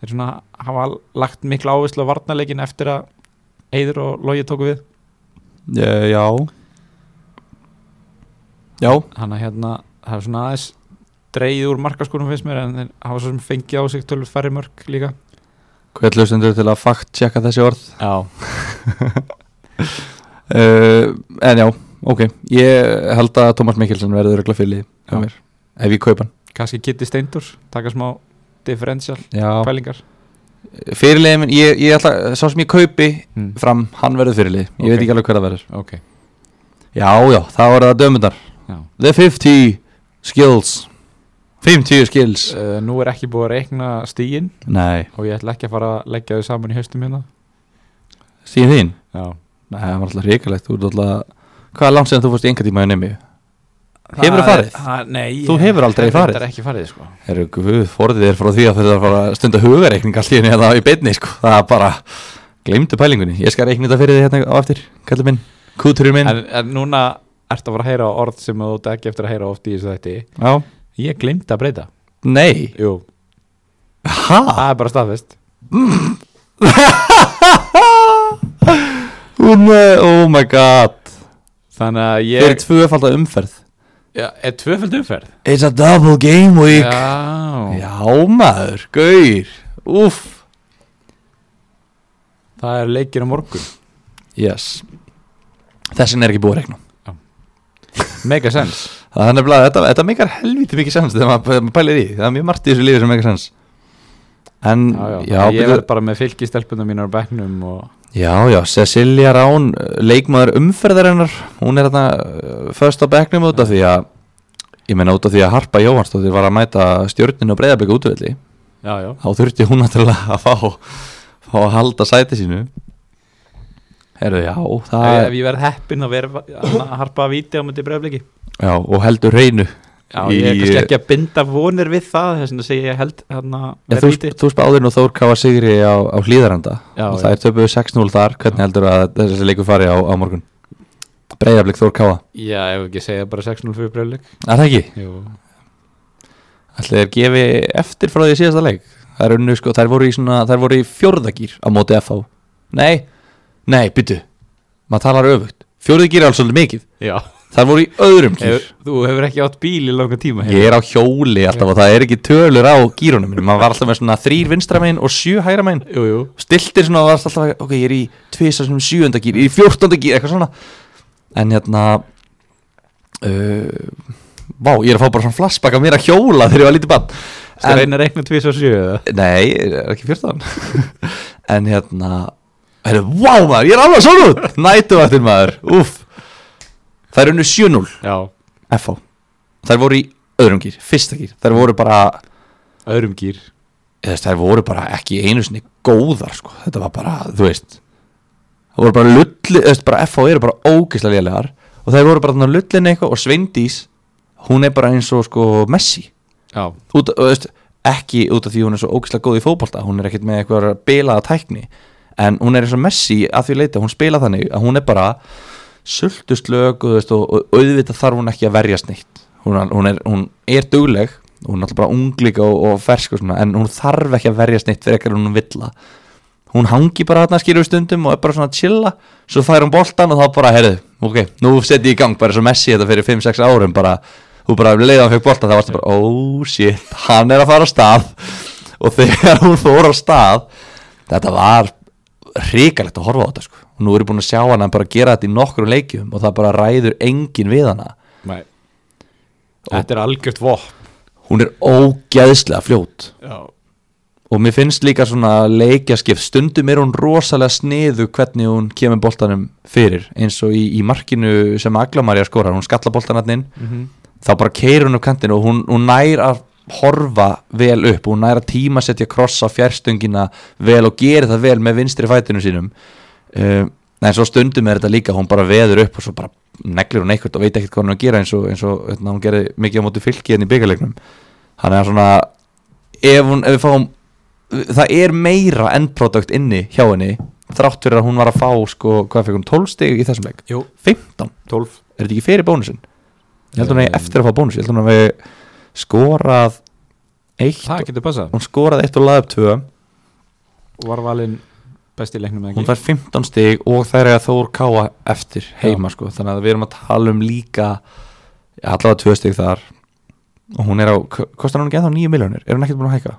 A: þeir svona hafa lagt mikla ávislu á varnarleikin eftir að Eiður og Lógi tóku við
B: Eh, já Já
A: hann að hérna það er svona aðeins dreigið úr markaskunum finnst mér en þeir hafa svo sem fengið á sig tölvöld færri mörg líka
B: Hver hlustendur til að fakt tjekka þessi orð
A: Já,
B: uh, En já, ok Ég held að Tómas Mikkelsen verður örugglega fyrirliði hjá
A: Já.
B: mér. Ef ég kaupa hann
A: kannski Kitty Steindur taka smá differential
B: Já
A: pælingar
B: Fyrirliði minn, ég, ég ætla, sá sem ég kaupi
A: mm.
B: fram, hann verður fyrirliði Hmm.
A: Ok.
B: Ég veit ekki alveg hver það verður
A: Ok,
B: Já, já, það voru það dömundar
A: já
B: The 50 skills 50 skills
A: uh, Nú er ekki búið að reikna stígin
B: Nei,
A: og ég ætla ekki að fara að leggja þau saman í haustum hérna
B: síðan þín
A: Já
B: Nei, það var alltaf reikalegt, þú ert alltaf Hvað er langt sem þú fórst í enga tíma í nemi? Hefurðu farið?
A: Það, nei
B: Þú
A: ég-
B: hefur aldrei
A: ég
B: farið.
A: reyndar ekki farið sko
B: Herru, guð, forðið þér frá því að þetta fara að stunda hugareikning allt í henni eða í beinni, sko. Það er bara, glemdu pælingunni. Ég skal reikna þetta fyrir þið hérna á eftir, kallið minn, kúturinn minn.
A: en, en núna ertu að fara að heyra orð sem þú átt ekki eftir að heyra oft í þessu þætti
B: Já.
A: Ég glimt að breyta
B: Nei.
A: Jú,
B: Ha?
A: það er bara staðfest
B: Um, oh my god.
A: Þannig að
B: Ég... Fyrir
A: ég
B: tvöfald að umferð.
A: ja, Er tvöfald umferð?
B: It's a double game week.
A: Já,
B: Já, maður, gaur. Úf.
A: það er leikir á morgun
B: Yes. Þessin er ekki búið að reikna.
A: Mega sens
B: Það er nefnilega, þetta, þetta meikar helvítið mikið sens þegar maður- þegar maður pælir í. því. Það er mjög margt í þessu lífi sem meikar sens. En,
A: já, já. Ég
B: Mm, byrju-
A: verð bara með fylgistelpunum mínar á bekknum og
B: Já, já, Cecilia Rán uh, leikmaður umferðarinnar hún er þarna uh, först á bekknum út af því að ég meina út af því að Harpa Jóhansdóttir var að mæta stjórninu og breyðaböku útvöldi
A: Já, já
B: þá þurfti hún náttúrulega að fá, fá að halda sæti sínu Herðu, já, það
A: Ef ég verð heppinn að vera að harpa að víti á myndi breyfliki
B: já, og heldur reynu
A: Já, ég er
B: Í-
A: kannski ekki að binda vonir við það þess vegna segi ég held hérna
B: Já, þú, þú spáðir nú Þór Káa Sigri á, á hlýðaranda
A: Já,
B: og það
A: já.
B: er töpuðu 6-0 þar hvernig heldur að þessi leiku fari á, á morgun breyðablik Þór Káa
A: Já, ef ekki segja bara 6-0 fyrir breyflik
B: Er það ekki?
A: Jú,
B: Ætli þeir gefi eftir frá því síðasta leik Þær, unnu, sko, þær, voru, í svona, þær voru í fjórðagýr á móti FH Nei, nei, byttu Maður talar öfugt Fjórðagýr er alveg svolítið mikið
A: já
B: Þær voru í öðrum gýr
A: Ef, Þú hefur ekki átt bíl í langa tíma
B: Ég er á hjóli alltaf og það er ekki tölur á gýrunum mínum Maður var alltaf með svona þrýr vinstra megin og sjö hægra megin
A: hérna. Jú, jú
B: Stiltir svona og var alltaf Ok, ég er í tvisa sem sjöunda gýr Í fjórtanda gýr, eitthvað svona En hérna uh, Vá, ég er að fá bara svona flashback af mér að hjóla þegar ég var lítið bann
A: Skal reyna að reikna 2-7 eða?
B: Nei, er ekki 14 En hérna Herru, vá maður, ég er alveg svona út Nætuvættin maður, úff Það er unnu 7-0
A: Já,
B: FH Þær voru í öðrum gýr, fyrsta gýr Þær voru bara,
A: öðrum gýr
B: eða þess, þær voru bara ekki einu sinni góðar sko. Þetta var bara, þú veist Það voru bara lulli, þú veist, bara FH eru bara ógeðslega lélegar Og þær voru bara þannig að lullinni eitthvað Og Sveindís, hún er bara eins og sko Messi
A: Já,
B: út, og, veist, ekki út af því hún er svo ógeðslega góð í fótbolta hún er ekkit með eitthvað bilaða tækni en hún er eins og Messi að því leita hún spila þannig að hún er bara sultuslög og, þú veist, og, og auðvitað þarf hún ekki að verjast neitt hún, hún, er, hún er dugleg hún er alltaf bara unglík og, og fersk og svona, en hún þarf ekki að verjast neitt fyrir ekkert hún vilja hún hangi bara þarna skilur við stundum og er bara svona að chilla svo fær hún boltan og þá bara, heyrðu, ok nú setjum ég í gang bara svo Messi þetta fyrir 5-6 árum bara, þú bara leiði hann fyrir boltan þá varstu bara, oh shit, hann er að fara á stað og þegar hún fór á stað þetta var hrikalegt að horfa á þetta sko og nú er ég búin að sjá hana bara gera þetta í nokkrum leikjum og það bara ræður enginn við hana
A: nei Þetta er algjört vop
B: hún er ógeðslega fljót
A: Já
B: og mér finnst líka svona leikjaskipt stundum er hún rosalega sniðu hvernig hún kemur boltanum fyrir eins og í, í markinu sem Aglamarja skorar, hún skalla boltan hann inn þá bara keir hún upp kantinn og hún, hún nær að horfa vel upp hún nær að tímasetja krossa fjärstungina vel og gerir það vel með vinstri fætinu sínum uh, en svo stundum er þetta líka, hún bara veður upp og svo bara neglir hún eitthvað og veit ekkert hvað hún er að gera eins og, eins og hérna, hún gerði mikið á móti fylkiðin í byggarleiknum þannig að svona ef, hún, ef við fáum það er meira endproduct inni hjá henni þrátt fyrir að hún var að fá sko, hvað fekk hún 12 stig í þessum leik
A: Jú.
B: 15,
A: 12
B: er þetta ekki fyrir bónusin ég held hún að
A: Em.
B: eftir að fá bónus ég held hún að við skorað eitt,
A: Það getur passað
B: hún skorað eitt og laði upp tvö
A: Var valinn besti leiknum með
B: hún fær 15 stig og þær er að Þór Káa eftir heima sko þannig að við erum að tala um líka ja, allavega 2 stig þar og hún er á, kostar hún ekki ennþá 9 miljónir er hún ekkert búin að hækka?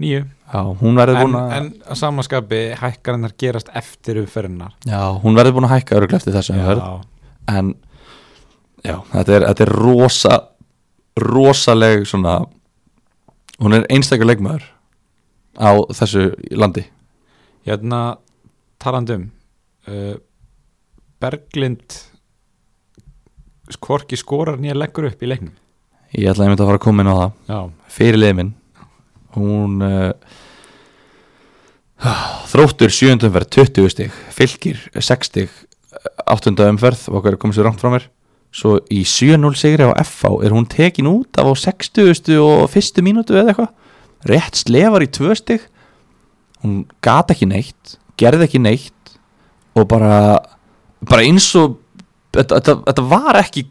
A: Nýju
B: Já, hún verður
A: en,
B: búin að
A: en að samaskapi hækkarinnar gerast eftir uppferðinnar
B: Já, hún verður búin að hækka öruglega eftir þessu umferð. en já, þetta er, þetta er rosa rosaleg svona hún er einstakar leikmaður á þessu landi
A: Hérna talandum uh, Berglind Korki skorar nýja leggur upp í leiknum
B: ég ætla að ég myndi að fara að koma inn á það
A: Já,
B: fyrir liðminn hún uh, þróttur 7. umferð 20 stig, fylgir 6 stig 8. umferð og okkar er komið sér rangt frá mér svo í 7-0 sigri á FH er hún tekin út af á 60. og 1. mínútu eða eitthvað rétt slefar í 2 stig hún gata ekki neitt gerði ekki neitt og bara, bara eins og þetta, þetta, þetta var ekki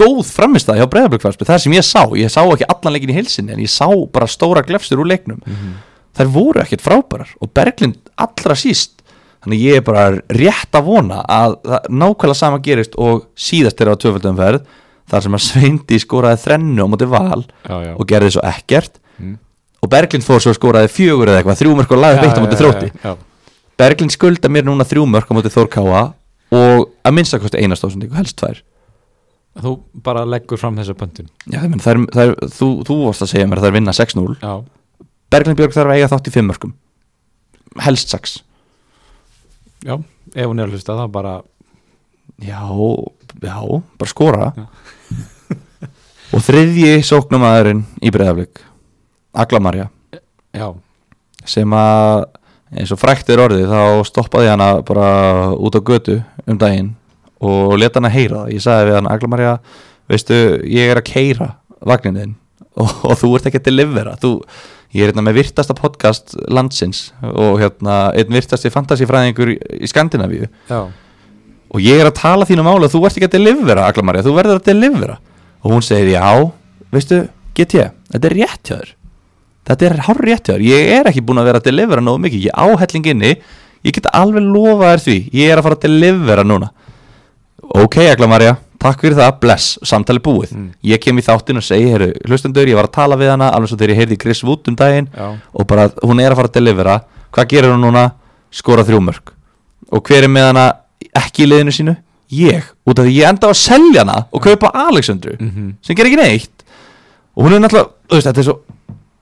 B: góð framistæð hjá Breiðablökkvarsby það sem ég sá, ég sá ekki allan leikin í heilsinni en ég sá bara stóra glefstur úr leiknum
A: Mhm.
B: þær voru ekkert frábærar og Berglind allra síst þannig ég er bara rétt að vona að það nákvæmlega sama gerist og síðast er á tvöfaldum verð þar sem að Sveindi skoraði þrennu á móti val
A: já, já.
B: og gerði svo ekkert
A: Mm.
B: og Berglind fór svo og skoraði fjögur eða eitthvað þrjúmörk og lagði beitt á móti þrótti
A: já,
B: Berglind skulda mér núna þrjúmörk á móti þórkáa og að minnstakosti einastóðsendingu, helst tvær
A: já. Þú bara leggur fram þessa pöntun
B: Já, ég menn, þær, þær, þú, þú varst að segja mér að þær vinna 6-0
A: Já,
B: Berglind Björg þarf að eiga þátt í 5 mörgum Helst 6
A: já, ef hún er að hlusta það bara
B: Já, já, bara skora
A: Já.
B: Og þriðji sóknumæðurinn í breyðaflik Agla Marja
A: Já,
B: sem að eins og frækt er orðið þá stoppaði ég hana bara út á götu um daginn og leta hana heyra það ég sagði við hana, Agla Marja veistu, ég er að keira vagnin þinn og, og þú ert ekki að delivera þú, ég er hérna með virtasta podcast landsins og hérna einn virtasti fantasífræðingur í- í Skandinavíu
A: já,
B: og ég er að tala þínu mála þú ert ekki að delivera, Agla Marja, þú verður að delivera og hún segir, já, veistu get ég, þetta er rétt hjá þér þetta er hár rétt hjá þér, ég er ekki búin að vera að delivera nógu mikið, ég á helling inni ég get alveg lofa þér því, ég er að fara að delivera núna ok, Agla Marja, takk fyrir það, bless samtali búið,
A: Mm.
B: ég kem í þáttinn og segi heru, hlustendur, ég var að tala við hana alveg svo þegar ég heyrði í Chris Wood um daginn
A: já
B: og bara hún er að fara að delivera hvað gerir hún núna? skora þrjú mörg og hver er með hana ekki í liðinu sínu? ég, út af því ég enda á að selja hana og kaupa Alexandru
A: Mhm.
B: sem gerir ekki neitt og hún er náttúrulega, þú veist, þetta er svo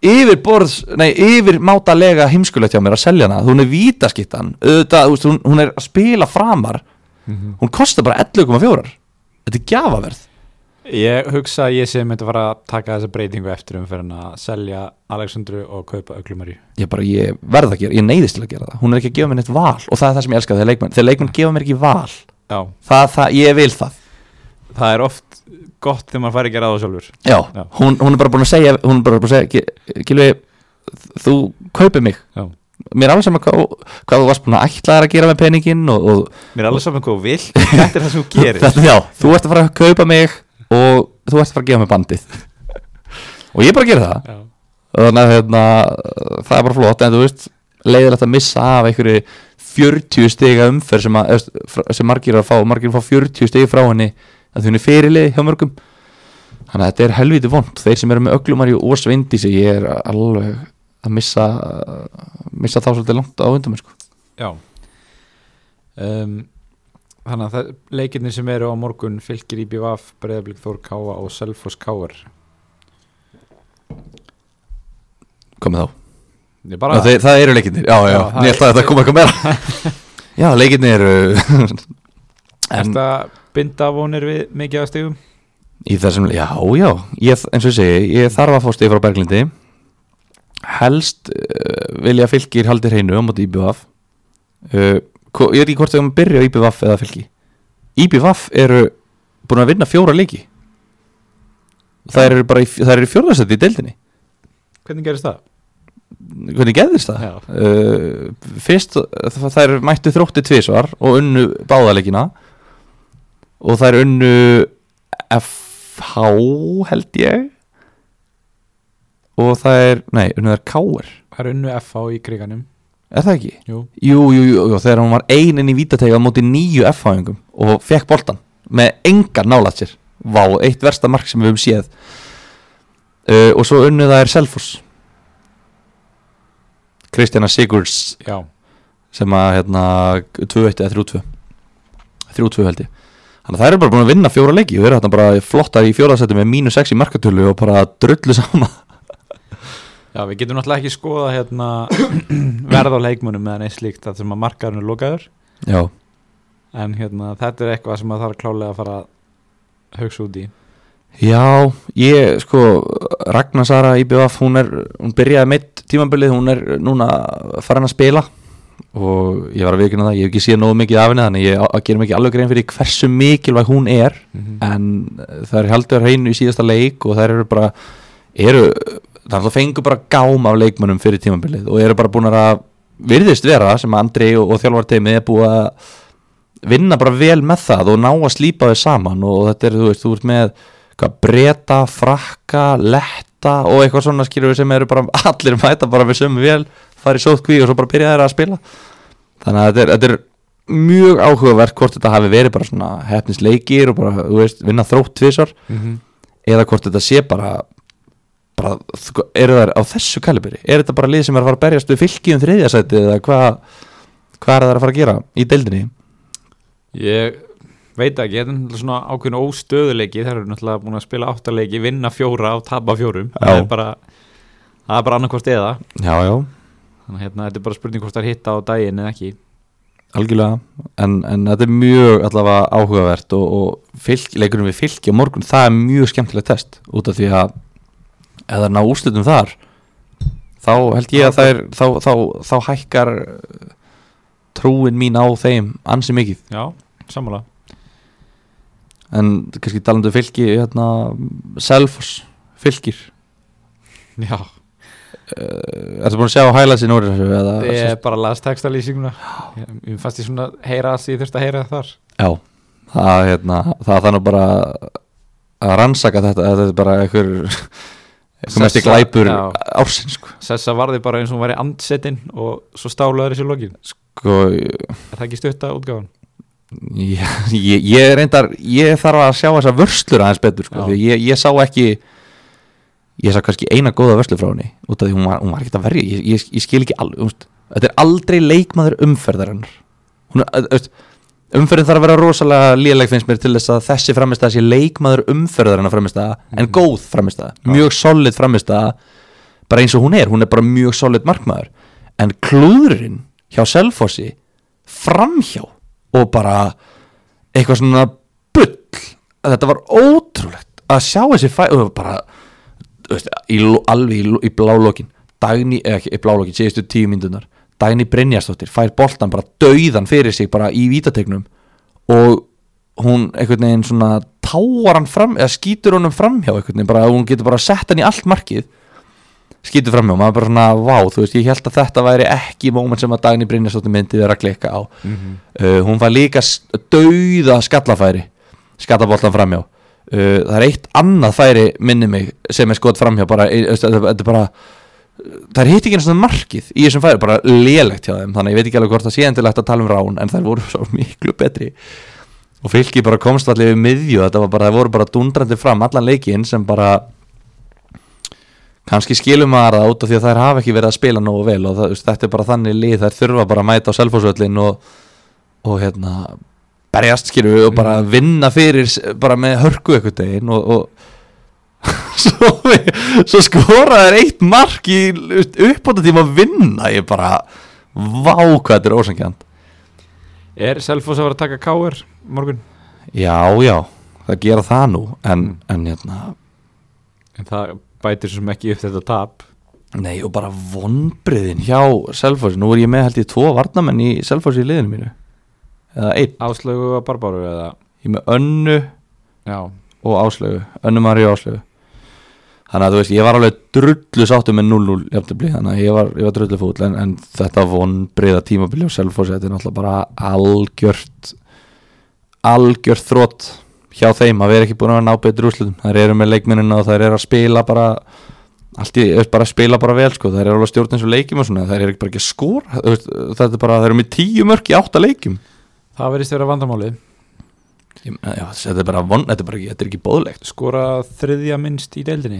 B: yfir borðs, nei, yfir mátalega heimskulegt hjá mér að selja hana, hún er vítaskittan auðvitað, þú veist, hún, hún er að spila framar
A: Mhm.
B: hún kostar bara 11,4 þetta er gjafaverð
A: Ég hugsa að ég sé myndi að fara að taka þessa breytingu eftir umferðin að selja Alexandru og kaupa Öglumari
B: ég bara, ég verð að gera, ég neyðist til að gera það hún er ekki að gefa mér neitt val og það er það sem ég elska þegar leikmenn, þegar leikmenn gefa mér ekki val
A: Já,
B: það, það, ég vil það
A: það er oft gott þegar maður fær ekki að ráða sjálfur
B: já,
A: Já.
B: Hún, hún er bara búin að segja hún er bara búin að segja, "Gi- Gylfi þú kaupir mig,
A: Já.
B: mér er alveg saman hvað, hvað þú varst búin að ætla þér að gera með peningin og, og
A: Mér er alveg saman hvað þú vilt, þetta er það sem þú gerir
B: Þetta- já, þú ert að fara að kaupa mig og þú ert að fara að gefa mig bandið og ég bara gera það
A: Já,
B: þannig að hérna, það er bara flott en þú veist, leiðilegt að missa af einhverju 40 stiga umferð sem, að, eða, fr- sem margir eru að fá margir fá 40 stigi frá henni að því hún er fyrirlið hjá mörgum þannig að þetta er helviti vond, þeir sem eru með öglumari og svindi sig, ég er alveg að missa missa þá svolítið langt á undan mér sko
A: já um, Þannig að það, leikinni sem eru á morgun fylgir IBVF, Breiðablík Þór Káa og Selfoss Káar
B: komið þá,
A: Ég
B: Já,
A: bara,
B: þeir, það eru leikinnir, já, já,
A: Já,
B: já
A: það
B: ég
A: er-
B: ætla að þetta koma eitthvað meira Já, leikinnir
A: er
B: En
A: þetta binda vonir við mikið að stegum?
B: í þessum, já, já ég, eins og ég segi, ég þarf að fá stig frá Berglindi Helst uh, vilja fylgir haldi hreinu á móti IBVF uh, hvo- Ég er ekki hvort þegar maður byrja á IBVF eða fylgi IBVF eru búin að vinna fjóra leiki Það eru bara, í- það eru fjórðarsætti í deildinni
A: Hvernig gerist það?
B: Hvernig gerðist það?
A: Já.
B: uh, fyrst þ- þær mættu þrótti tvísvar og unnu báðalegina og þær unnu FH held ég og þær, nei, unnu þær Káir
A: Það er unnu FH í kriganum
B: er það ekki?
A: Jú,
B: Jú, jú, jú, jú þegar hún var einin í vítatega á móti nýju FH-ingum og fekk boltan með engar nálægt sér Vá, eitt versta mark sem við höfum séð uh, og svo unnu þær Selfoss Kristjana Sigurds
A: já,
B: sem að hérna 2-1 eða 3-2 3-2 held ég þannig að það eru bara búin að vinna fjóra leiki og eru hérna bara flottar í fjóraðsættu með mínus 6 í markatölu og bara drullu sama
A: já, við getum náttúrulega ekki skoða hérna verð á leikmunum meðan eins slíkt það sem að markaðurinn er lokaður
B: já,
A: en hérna, þetta er eitthvað sem að það er klálega að fara að hugsa út í
B: já, ég sko Ragnar Sara í BVF hún er, hún byrjaði meitt tímabilið hún er núna farin að spila og ég var að viðkynna það, ég hef ekki séð nógu mikið af henni þannig ég á- gerum ekki alveg grein fyrir hversu mikilvæg hún er
A: Mhm.
B: en það er heldur hreinu í síðasta leik og það eru bara eru, það er alltaf fengu bara gám af leikmönnum fyrir tímabilið og eru bara búin að virðist vera sem Andri og, og þjálfarteimið er búið að vinna bara vel með það og ná að slípa þau saman og þetta er, þú veist, þú ert með hvað, breyta, frakka, letta og eitthvað svona skilur við sem eru bara allir mæta bara við sömu vel fara í sótkví og svo bara byrja þeirra að spila þannig að þetta er, þetta er mjög áhugavert hvort þetta hafi verið bara svona hefnisleikir og bara, þú veist, vinna þrótt tvisar eða hvort þetta sé bara bara, sko, eru þær á þessu kalibri er þetta bara lið sem er að fara að berjast við fylki um þriðjasæti eða hvað hvað er það að fara að gera í deildinni
A: Ég veit ekki, þetta er náttúrulega svona ákveðin óstöðuleiki þeir eru náttúrulega búin að spila áttaleiki, vinna fjóra og tapa fjórum það
B: Já.
A: er bara, það er bara annarkvort eða
B: já, já,
A: þannig að hérna, þetta er bara spurning hvort það er hitta á daginn eða ekki
B: algjörlega en, en þetta er mjög allavega áhugavert og, og fylk, leikunum við fylki á morgun það er mjög skemmtilega test út af því að ef það er ná úrslutum þar þá held ég að það er þá, þá, þá, hækkar uh, trúin mín á þeim ansi mikið
A: Já, sammála
B: en kannski talandu fylki hérna, Selfoss fylkir
A: Já,
B: uh, Ertu búin að sjá hæla sér núri þessu? Eða,
A: ég er bara las textalýsinguna ég, ég fannst ég svona heyra það sem ég þurfti að heyra þar
B: Já, það, hérna, það þannig bara að rannsaka þetta þetta er bara einhver einhver mest í
A: Sessa-
B: glæpur
A: já.
B: ársins sko.
A: Sessa varði bara eins og hún væri andsetin og svo stálaður þessi lokin
B: Sko,
A: Er það ekki stutta útgáfan?
B: ég, ég, ég reyndar ég þarf að sjá þessa vörslur aðeins betur sko,
A: Já.
B: því ég, ég sá ekki ég sá kannski eina góða vörslu frá henni út af því hún var, hún var ekkert að verja ég, ég, ég skil ekki alveg, þú veist, þetta er aldrei leikmaður umferðarinnar hún, er- þú veist, umferðin þarf að vera rosalega léleg finnst mér til þess að þessi framistæða sé leikmaður umferðarinnar framistæða en
A: Mhm.
B: góð framistæða,
A: Já.
B: mjög solid framistæða bara eins og hún er, hún er bara mjög solid markmaður, en klúðurinn hjá Selfossi framhjá og bara eitthvað svona bull þetta var ótrúlegt að sjá þessi fæ og bara þú veist, í, lo- alveg í, lo- í blálokin Dagný, eða ekki í blálokin, síðustu tíu myndunar Dagný Brynjarsdóttir fær boltan bara dauðan fyrir sig bara í vítategnum og hún einhvern veginn svona táar hann fram eða skýtur honum framhjá einhvern veginn bara hún getur bara sett hann í allt markið skýtur framhjá, maður bara svona vá, þú veist, ég held að þetta væri ekki moment sem að Dagný Brynjarsdóttir myndi vera að klikka á
A: Mhm.
B: uh, hún fær líka s- dauða skallafæri skallaboltan framhjá uh, það er eitt annað færi minni mig sem er skot framhjá bara, eh, veist, þetta þetta er bara það er hitt ekki einu svona markið í þessum færi bara lélegt hjá þeim, þannig að ég veit ekki alveg hvort það sé endilegt að tala um rán, en þær voru svo miklu betri og fylki bara komst allir við miðju, þetta var bara, það voru bara dundrandi fram allan leikinn sem bara kannski skilum maður það út af því að þær hafa ekki verið að spila nógu vel og það, þú veist, þetta er bara þannig lið, þær þurfa bara að mæta á selfhúsvöllin og og hérna Mm. berjast skilur við og bara vinna fyrir s- bara með hörku eitthvað degin og, og svo, svo skoraði þær eitt mark í uppbóta tíma að vinna ég bara, vá hvað þetta er ósangjant
A: Er Selfoss að vera að taka káir morgun?
B: já, já, það gera það nú en, en hérna,
A: En það bætir sem ekki upp þetta tap
B: nei og bara vonbriðin hjá Selfoss, nú er ég með held ég tvo varnamenn í Selfoss í liðinu mínu eða einn,
A: Áslögu að Barbáru eða
B: ég er með önnu
A: Já,
B: og áslögu, önnu Maríu áslögu þannig að þú veist, ég var alveg drullu sáttu með 0-0 jafntöfli, þannig að ég var, ég var drullu fúll en, en þetta von breyða tímabili og selfósi, þetta er náttúrulega bara algjört algjört þrótt hjá þeim að vera ekki búin að ná betri úrslutum, þær eru með leikminnina og þær eru að spila bara allt í, þú veist, bara að spila bara vel sko, þær eru alveg stjórn eins og leikjum og svona, þær eru ekki bara ekki að skora þú veist, þetta er bara, þær eru með tíu mörk í átta leikjum
A: það verðist vera vandamálið
B: Ég, já, þetta er bara von, þetta er bara ekki, þetta er ekki bóðlegt
A: Skora þriðja minnst í deildinni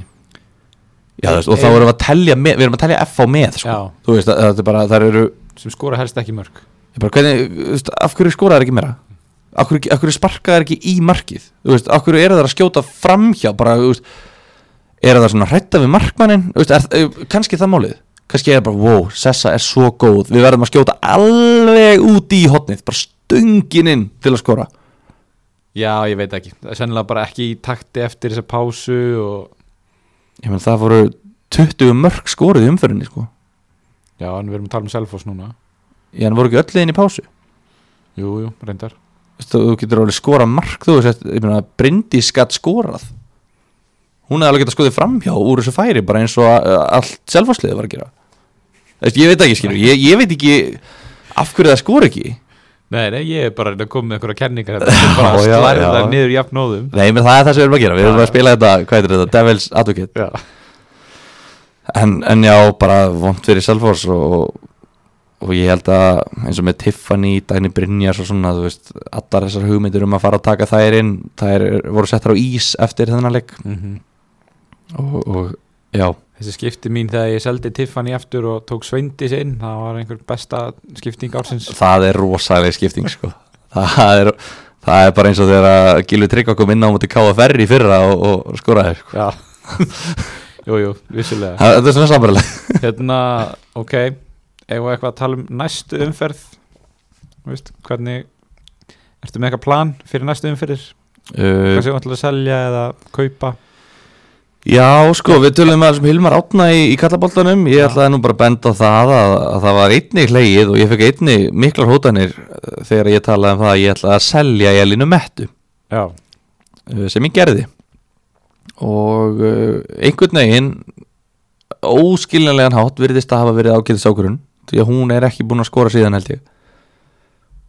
B: Já, þú veist, og þá erum við að telja með, við erum að telja F á með sko.
A: Já,
B: þú veist, að- að þetta er bara, það eru
A: sem skora helst ekki mörg
B: ég bara, hvernig, þú veist, af hverju skoraði ekki meira af hverju, af hverju sparkaði þær ekki í markið þú veist, af hverju eru það að skjóta framhjá bara, þú veist eru það svona hrætta við markmannin þú veist, er, eh, kannski er það málið kannski er bara, wow, Sessa er svo góð við verðum að skjóta alveg út í hotnið bara stungin inn til að skora
A: Já, ég veit ekki, það er sennilega bara ekki í takti eftir þessa pásu og
B: ég menn, það voru 20 mörg skorið í umferðinni sko.
A: Já, en við erum að tala um Selfoss núna
B: ég hann voru ekki öll liðin í pásu
A: Jú, jú, reyndar
B: Veist þú þú getur alveg skorað mark þú veist, ég meina, Bryndís gætt skorað hún hefði alveg getað skoðið framhjá úr þessu færi, bara eins og uh, allt selfasliðið var að gera Veist, ég veit ekki, skilur, ég, ég veit ekki af hverju það skor ekki
A: Nei, nei, ég er bara að reyna að koma með einhverja kenningar þetta er bara að
B: Já, já,
A: slæra
B: já.
A: það niður jafnóðum
B: Nei, menn það er það sem við erum að gera, við erum að spila þetta, hvað heitir þetta, Devil's Advocate
A: Já,
B: En, en já, bara vond fyrir Selfors og, og ég held að eins og með Tiffany, Dæni Brynjar og svona, þú veist, allar þessar hugmyndir um að fara að taka þær inn, þær voru settar á ís eftir þennan leik
A: Mhm.
B: og, og já,
A: Þessi skipti mín þegar ég seldi Tiffany aftur og tók Sveindis inn, það var einhver besta skipting ársins. sko.
B: það er rosalega skipting sko. það, er, það er bara eins og þegar að Gilvi Tryggva kom inn á múti KFR í fyrra og, og skoraði sko.
A: Já, jú, jú, vissulega.
B: það, þetta er svona sambarlega
A: Hérna, ok, eigum við eitthvað að tala um næstu umferð, Þú veist, hvernig, ertu með eitthvað plan fyrir næstu umferðir? Hvað
B: uh,
A: sem ætlar að selja eða kaupa?
B: já sko, við tölum með þessum Hilmar Átna í, í kallaboltanum ég
A: Já.
B: ætlaði nú bara að benda á það að, að það var einni hlegið og ég fekk einni miklar hótanir uh, þegar ég talaði um það að ég ætlaði að selja Jelinu Mettu
A: Já,
B: uh, sem ég gerði og uh, einhvern veginn óskiljanlegan hátt virðist að hafa verið ágæðis ákvörun því að hún er ekki búin að skora síðan held ég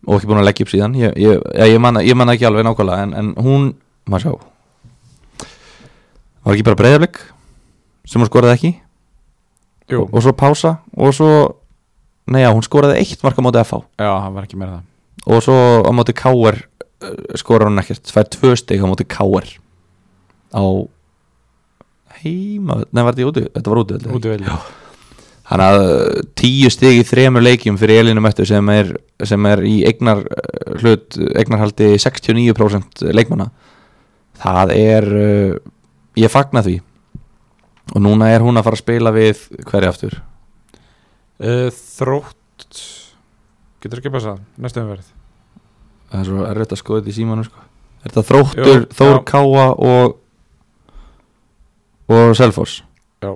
B: og ekki búin að leggja upp síðan ég, ég, ég, ég manna man það ekki alveg nákvæmlega en, en hún, maður sjá var ekki bara breyðablik sem hún skoraði ekki
A: jú,
B: og, og svo pása og svo, neja, hún skoraði eitt mark á móti FH
A: já, hann var ekki meira það.
B: og svo á móti K.R. uh, skorar hann ekkert, fær tvö stig á móti K.R. á heima, nei var þetta í úti þetta var úti,
A: Út í veldi.
B: hann að uh, tíu stig í þremur leikjum fyrir Elinu Möttu sem er, sem er í eignar uh, hlut, eignarhaldi 69% leikmanna það er uh, ég fagna því og núna er hún að fara að spila við hverja aftur
A: Uh, þrótt, getur ekki passað, næstu umferð.
B: það er svo erfitt að skoða þetta í símanum sko. er þetta þróttur,
A: Jú,
B: Þór
A: já.
B: Káa og og Selfoss
A: Já.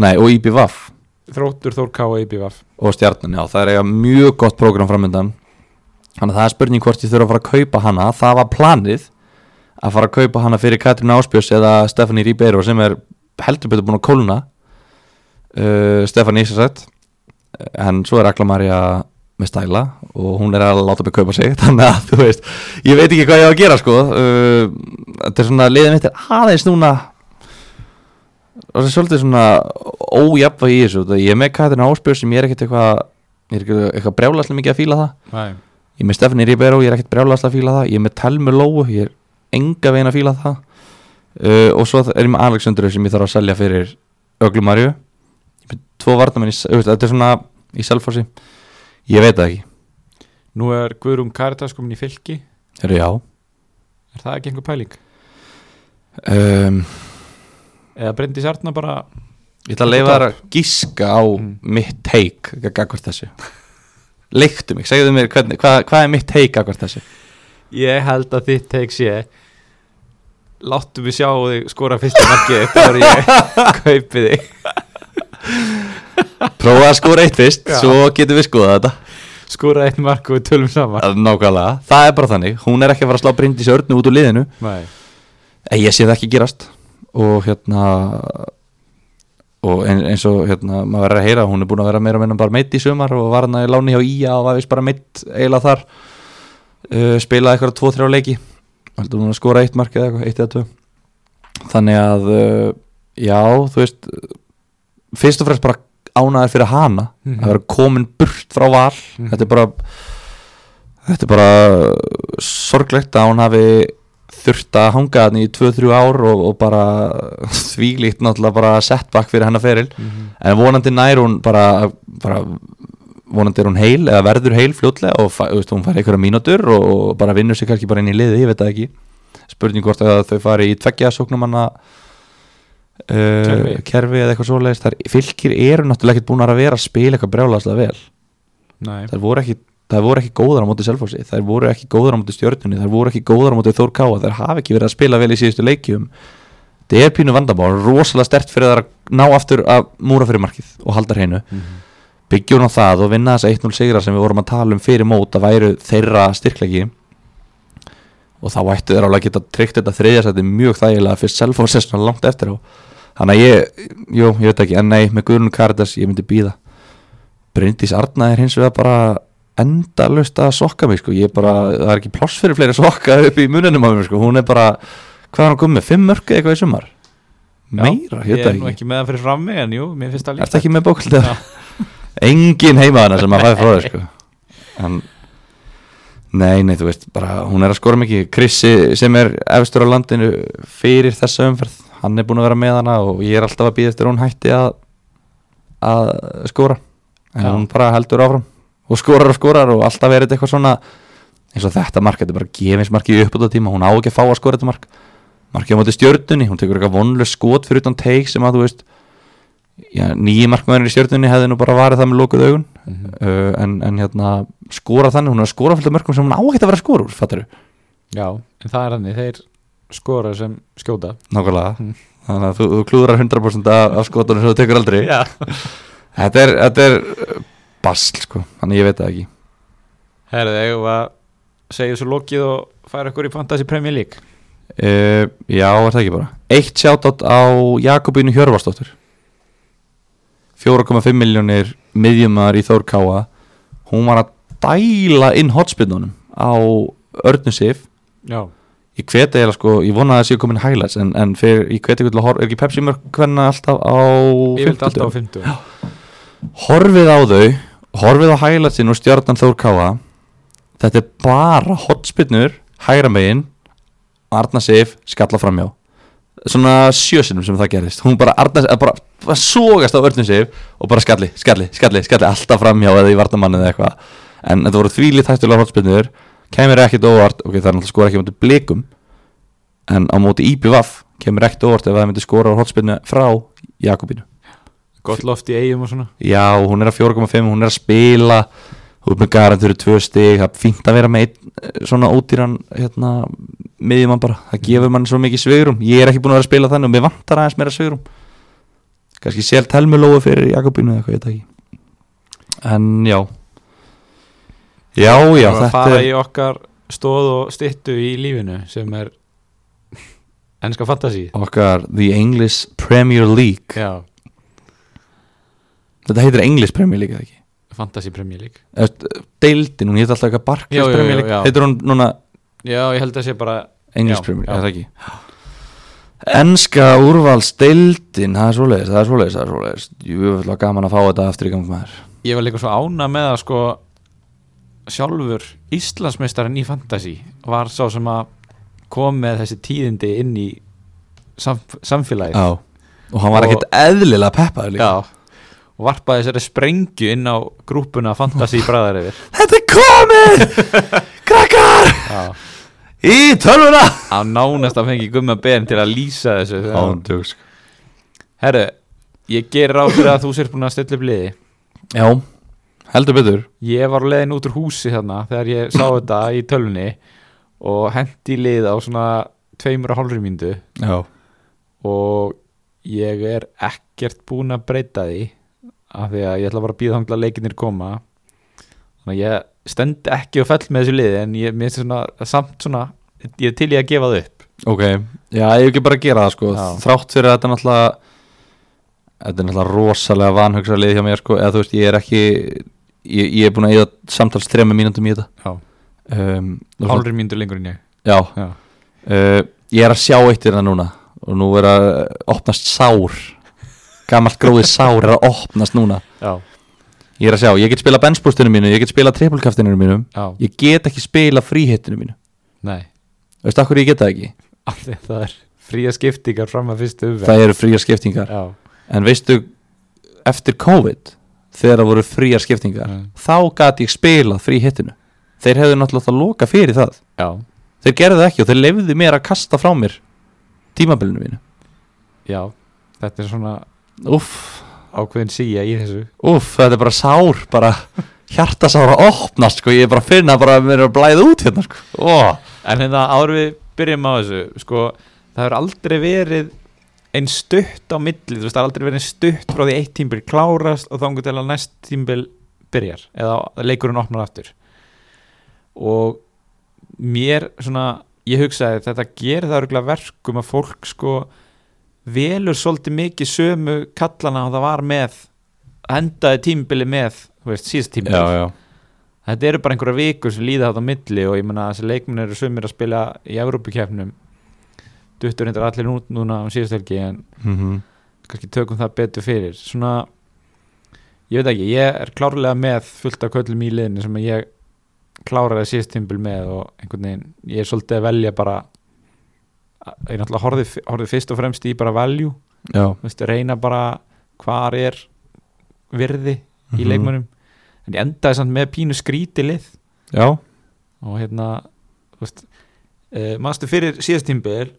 B: nei og IBVAF
A: Þróttur Þór K. IBVF.
B: og Stjarnan, já, það er eiga mjög gott prógram framöndan þannig að það er spurning hvort ég þurfa að fara að kaupa hana, það var planið að fara að kaupa hana fyrir Katrin Áspjörs eða Stefani Ribeiro sem er heldur betur búin að kólna uh, Stefani Ísarsett en svo er Akla Marja með stæla og hún er að láta mig kaupa sig þannig að þú veist, ég veit ekki hvað ég á að gera sko uh, þetta er svona liðið mitt er aðeins núna og það er svolítið svona ójafnvæg í þessu þú veist, ég er með Katrin Áspjör sem ég er ekkert eitthvað ég er ekkert eitthvað brjálaslega mikið að fíla það
A: Nei,
B: ég er með Stefani Ribeiro, ég er ekkert brjálaslega að fíla það ég er með Telmu Lóu, ég er enga veginn að fíla það uh, og svo er ég með Alexandru sem ég þarf að selja fyrir Öglumarju ég er með tvo varnamenn í, uh, þetta er svona í selfossi ég veit það ekki,
A: nú er Guðrún Karitas komin í fylki,
B: eru já
A: er það ekki einhver pæling?
B: um,
A: eða Bryndís Arna bara
B: Ég ætla að leifa þær að gíska á mitt take gagvart þessu Leiktu mig, segðu mér hvernig, hvað, hvað er mitt take gagvart þessu
A: ég held að þitt teik sé láttu mig sjá þig skora fyrsta markið þegar ég kaupi þig
B: Prófa að skora eitt fyrst,
A: Já.
B: svo getum við skoðað þetta
A: skora eitt mark og við tölum saman
B: Það er Nákvæmlega, það er bara þannig Hún er ekki að fara að slá Bryndís Örnu út úr liðinu
A: Nei.
B: En ég sé það ekki gerast Og hérna Og ein- eins og hérna, maður verður að heyra Hún er búin að vera meira og minna bara meitt í sumar Og var hann að láni hjá Ía og var vist bara meitt Eiginlega þar uh, Spilaði eitthvað tvo, þrjá leiki Heldur hún að skora eitt mark eða eitthvað, eitt eða tvö Þannig að uh, Já, þú veist Fyrst og fremst bara ánæður fyrir hana
A: Mhm.
B: Að vera komin burt frá val
A: Mhm.
B: Þetta er bara Þetta er bara uh, sorglegt að hún hafi þurft að hanga hann í 2-3 ár og, og bara þvílíkt náttúrulega bara setback fyrir hennar feril
A: Mhm.
B: en vonandi nær hún bara, bara vonandi er hún heil eða verður heil fljótlega og fæ, þú veist, hún fær einhverja mínútur og, og bara vinnur sig kannski bara inn í liði, ég veit það ekki spurning hvort að þau fari í tveggja sóknumanna uh,
A: Kerfi.
B: kerfi eða eitthvað svoleiðist þar fylgir eru náttúrulega ekkert búin að vera að spila eitthvað brjálaslega vel
A: Nei.
B: þær voru ekki þær voru ekki góðar á móti Selfossi, þær voru ekki góðar á móti stjörnunni, þær voru ekki góðar á móti Þór Káa þær hafa ekki verið að spila vel í síðustu leikjum þetta er pínu vandamál, rosalega stert fyrir þær að ná aftur að múra fyrir markið og halda hreinu, byggjum á það og vinna þess 1-0 sigra sem við vorum að tala um fyrir mót að væru þeirra styrklegi og þá ættu þær alveg að geta tryggt þetta þriðjasætti mjög þægilega fyrir Selfossi svona langt eftir á þannig að ég, jú, ég veit ekki, en nei með Guðrun Karitas, ég myndi býða Bryndís Arna er hins vegar bara endalust að sokka mig sko. ég bara, það er ekki pláss fyrir fleiri sokka upp í muninum á mér, sko. hún er bara hvað er hann komið, með? fimm mörg eitthvað í sumar meira,
A: ég
B: ég
A: er
B: veit það
A: nú
B: ekki
A: ekki með það fyrir frammi en jú, mér finnst það líka
B: Ertu ekki með bókaldið? Engin heima hana sem að fæði frá þér sko. en, Nei, nei, þú veist bara, hún er að skora mikið Krissi sem er efstur á landinu fyrir þessa umferð hann er búin að vera með hana og ég er alltaf að býða eftir að hún hætti að að skora en
A: Já.
B: hún bara heldur áfram og skorar og skorar og alltaf er þetta eitthvað svona eins og þetta mark, þetta er bara gefinsmarki í uppbúta tíma, hún á ekki að fá að skora þetta mark markið á móti stjörnunni, hún tekur eitthvað vonlega skot fyrir utan teik sem að þú veist já, nýji markmæður í stjörnunni hefði nú bara varið það með lókuð augun
A: Mhm.
B: uh, en, en hérna skora þannig, hún er að skora fullt af mörgum sem hún á ekkert að vera að skora úr, fattar þú?
A: já, en það er hannig, þeir skora sem skjóta
B: Nákvæmlega,
A: Mm.
B: þannig að þú, þú klúðrar 100% af, af skotunum sem þú tekur aldrei
A: já.
B: þetta er, þetta er uh, basl sko, þannig ég veit það ekki
A: herðu, ég var segja svo lokið og færa ykkur í Fantasy Premier League
B: uh, Já, er það ekki bara Eitt sjátátt á Jakobínu Hjörvarsdóttur 4,5 miljónir miðjumar í Þór Káa Hún var að dæla inn hotspinnunum á Örnu Sif
A: já,
B: Ég hveti eða sko, ég vona að það séu komin highlights en, en fyrir, ég hveti ekki til að horfa, er ekki Pepsi mörg hvernig alltaf á
A: ég vildi alltaf á
B: 50?
A: 50
B: Horfið á þau, horfið á highlightsin og stjarnan Þór Káa Þetta er bara hotspinnur, hægra megin, Arna Sif skalla framjá Svona sjösinum sem það gerðist Hún bara, Arna, eða bara, bara sogast á örnum Sif og bara skalli, skalli, skalli, skalli alltaf framjá eða í vartamanni eða eitthvað En þetta voru þvílið hættulega hotspinnur Kæmur ekkit óvart, ok, það er náttúrulega skora ekki á móti blikum En á móti IPVaf kemur ekkit óvart ef það myndi skora á hotspinnu frá Jakobínu
A: gott loft í eigum og svona
B: Já, hún er að 4,5, hún er að spila Hún er með garant fyrir tvö stig Það er fínt að vera með einn, eh, svona ódýran hérna, miðjumann bara Það gefur mann svo mikið svigurum Ég er ekki búin að vera að spila þannig og mér vantar aðeins meira svigurum Kannski sér telmulóu fyrir Jakobínu eða eitthvað, ég veit það ekki En já Já, já,
A: og að
B: þetta
A: fara
B: er
A: í okkar stóð og styttu í lífinu sem er ennska fantasy
B: okkar The English Premier League
A: já,
B: Þetta heitir English Premier League, eða ekki?
A: fantasy Premier League
B: Eftir, deildin, hún heit alltaf eitthvað Barclays
A: Já, já, já,
B: Premier League
A: já.
B: Heitir hún núna
A: já, ég held að sé bara
B: English
A: Já,
B: Premier
A: já.
B: League, er það ekki Enska úrvalsdeildin, það er svoleiðis, það er svoleiðis, það er svoleiðis Jú, það var gaman að fá þetta aftur í gang maður
A: ég var líka svo ána með að sko sjálfur Íslandsmeistarinn í fantasy var sá sem að kom með þessi tíðindi inn í samf samfélagið
B: Já, og hann var
A: Og-
B: ekkert eðlilega peppaður líka
A: Já. og varpaði þessari sprengju inn á grúpuna fantasy bræðar yfir
B: Þetta er komið, krakkar, í tölvuna
A: að nánast að fengi gumma ben til að lýsa þessu þegar hann-
B: Ándjóks
A: Herru, ég gerir á fyrir að þú sér búin að stilla upp liði
B: Já, heldur betur
A: Ég var á leiðin út úr húsi þarna þegar ég sá þetta í tölunni og hendi í lið á svona tveimur og hálfri mínútu
B: Já,
A: og ég er ekkert búin að breyta því af því að ég ætla bara að býða þangla leikinir koma þannig að ég stend ekki og fell með þessu liði en ég minnst svona samt svona ég er til ég að gefa það upp
B: ok Já, ég hef ekki bara að gera það sko
A: Já.
B: Þrátt fyrir að þetta er náttúrulega Þetta er náttúrulega rosalega vanhugsa hjá mér sko Eða þú veist, ég er ekki Ég, ég er búin að eða samtals þrema mínúndum í þetta
A: Já.
B: um, og svona-
A: hálfri mínútu lengur en ég
B: Já,
A: Já.
B: Uh, Ég er að sjá eitt við það núna Og nú er að uh, opnast sár Gamalt gróðið sár er að opnast núna
A: Já.
B: Ég er að sjá, ég get spila benchbústinu mínu Ég get spila trippulkaftinu mínu
A: Já.
B: Ég get ekki spila fríhittinu mínu
A: Nei,
B: Veistu af hverju ég get það ekki?
A: af því að það er fría skiptingar fram að fyrstu umverð
B: Það eru fríar skiptingar
A: Já.
B: En veistu, eftir COVID Þegar það voru fríar skiptingar
A: Mm.
B: Þá gat ég spilað fríhittinu Þeir hefðu náttúrulega það loka fyrir það
A: Já.
B: Þeir gerðu það ekki og þeir leifðu mér að kasta frá mér Tímabilinu mínu
A: Já. Þetta er svona
B: Úff,
A: ákveðin síja í þessu
B: Úf, þetta er bara sár, bara hjartasára opnast, sko, ég er bara að finna bara að mér er að blæða út hérna, sko. Ó,
A: En hérna áður við byrjum á þessu sko, það hefur aldrei verið einn stutt á milli þú veist, það hefur aldrei verið einn stutt frá því eitt tímbil klárast og þangur til að næst tímbil byrjar eða leikurinn opnar aftur og mér svona ég hugsaði þetta gerir það örgulega verkum að fólk sko velur svolítið mikið sömu kallana og það var með endaði tímbili með þú veist, síðast tímbil
B: já.
A: þetta eru bara einhverja vikur sem líða þátt á milli og ég menna þessi leikmenn eru sumir að spila í Evrópukefnum duttur hendur allir út núna um síðustelgi en
B: Mm
A: kannski tökum það betur fyrir svona, ég veit ekki ég er klárlega með fullt af köllum í liðinu sem að ég kláraði síðust tímbil með og einhvern veginn ég er svolítið að velja bara ég náttúrulega horfið, horfið fyrst og fremst í bara value,
B: Já.
A: þú veist, reyna bara hvar er virði
B: Mhm.
A: í leikmönnum en ég endaði samt með pínu skríti lið
B: Já.
A: og hérna þú veist, uh, mannstu fyrir síðast tímbil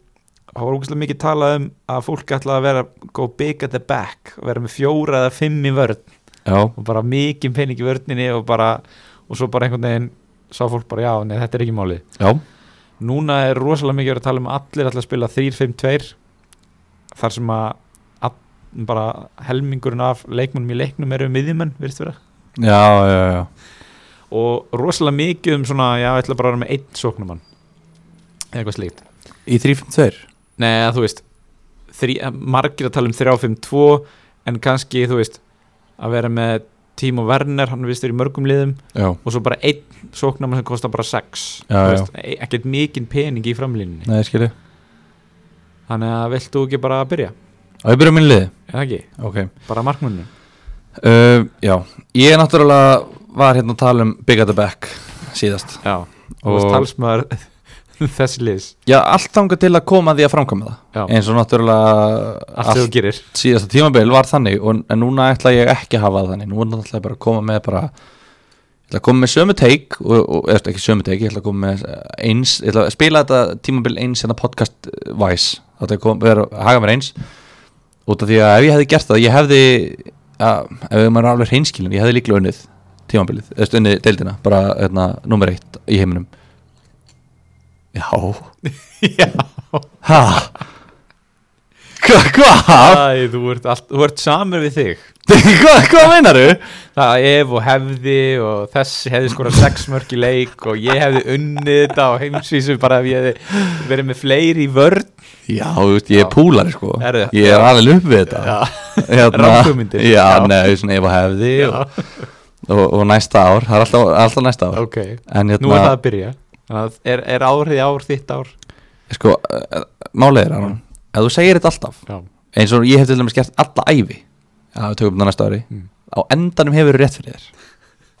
A: þá var ógæslega mikið talað um að fólk ætlaði að vera go big at the back og vera með fjóra eða fimm í vörn
B: Já.
A: og bara mikið pening í vörninni og bara og svo bara einhvern veginn sá fólk bara já, nei þetta er ekki málið
B: Já.
A: núna er rosalega mikið verið að tala um að allir ætla að spila 3-5-2 þar sem að all, bara helmingurinn af leikmennum í leiknum eru miðjumenn, virðist vera
B: Já, já, já.
A: og rosalega mikið um svona, já, ég ætla bara að vera með einn sóknumann eða eitthvað slíkt
B: Í 352?
A: Nei, að þú veist þrí, margir að tala um 3-5-2 en kannski, þú veist að vera með Timo Werner hann vistur í mörgum liðum
B: Já.
A: og svo bara einn sóknamann sem kostar bara 6
B: Já, já.
A: e, ekkert mikinn pening í framlínunni
B: Nei, skilji.
A: þannig að vilt þú ekki bara byrja
B: Og ég byrja minn liði.
A: eða ekki,
B: Ok.
A: bara markmunni
B: Uh, já. Ég náttúrulega var hérna að tala um Big at the Back síðast.
A: já, og þú veist talsmaður þess liðs,
B: já, allt þangað til að koma að því að framkvæma það.
A: já,
B: Eins og náttúrulega
A: allt sem þú gerir
B: síðasta tímabil var þannig og, en núna ætla ég ekki að hafa það þannig núna ætla ég bara að koma með bara ég ætla að koma með sömu teik og, og eða ekki sömu teik, ég ætla að koma með eh, eins, ég ætla að spila þetta tímabil eins en að podcast eh, wise, þá ætla ég að koma, vera, haga mér eins út af því að ef ég hefði gert það ég hefði, að, ef maður er alveg hreinskilin, ég hefði líklega unnið tímabilið, eða stu, unnið deildina, bara hérna, nummer eitt í heiminum Já
A: já,
B: Hæ? Hvað? Hvað?
A: Æ, þú ert, allt, þú ert samur við þig
B: Hvað hva meinaru?
A: Það ef og hefði og þessi hefði skorað sex mörg í leik og ég hefði unnið þetta á heimsvísu bara ef ég hefði verið með fleiri í vörn
B: Já, þú veist, ég er púlari sko
A: Herðu.
B: Ég er alveg upp við þetta Hérna-
A: Ranghugmyndir.
B: Já,
A: Já.
B: nei, svona ef að hefði og, og, og næsta ár, það er alltaf, alltaf næsta ár
A: ok,
B: En
A: nú er það
B: hérna,
A: að byrja Þannig að er, er árið ár þitt ár?
B: sko, eh, málið er Aron Ef þú segir þetta alltaf
A: Já,
B: Eins og ég hef til dæmis gert alla ævi Já, við tökum það næsta ári
A: Mm.
B: Á endanum hefur þú rétt fyrir þér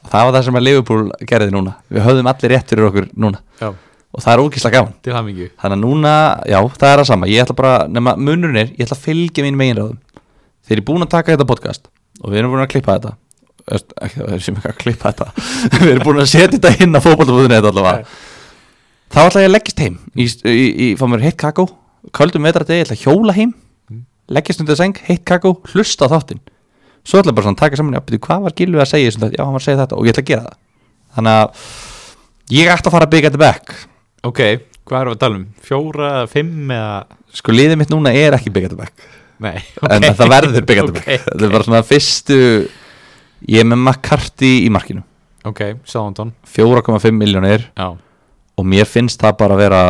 B: Og það var það sem að Liverpool gerði núna Við höfðum allir rétt fyrir okkur núna
A: já,
B: Og það er ógislega gaman
A: til hamingju
B: Þannig að núna, já, það er það sama Ég ætla bara, nema munurinn er, ég ætla að fylgja mín meginráðum Þegar ég er búin að taka þetta podcast Og við erum búin að klippa þetta Öst, ekki, það er sem ekki að klippa þetta Við erum búin að setja þetta inn á fótballtafúðinu þetta allavega Þá ætla ég að leggjast heim Í, í, í fá mér heitt kakó Köldum vetrardegi, ég ætla að hjóla heim
A: Mm.
B: leggjast undir seng, heitt kakó, hlusta á þáttinn svo ætla ég bara svona að taka saman já, byrju, hvað var Gilvi að segja í þessum þætti? já, hann var að segja þetta og ég ætla að gera það þannig að ég ætla að fara að byggja þetta back
A: Ok, hvað erum við að tala um? Fjóra, eða fimm eða
B: sko liðið mitt núna er ekki byggja þetta back
A: Nei,
B: en það verður byggja þetta
A: Ok,
B: back þetta er bara svona fyrstu ég er með McCarthy í markinu
A: Ok, Sáðantón
B: 4,5 miljónir
A: Já
B: og mér finnst það bara að vera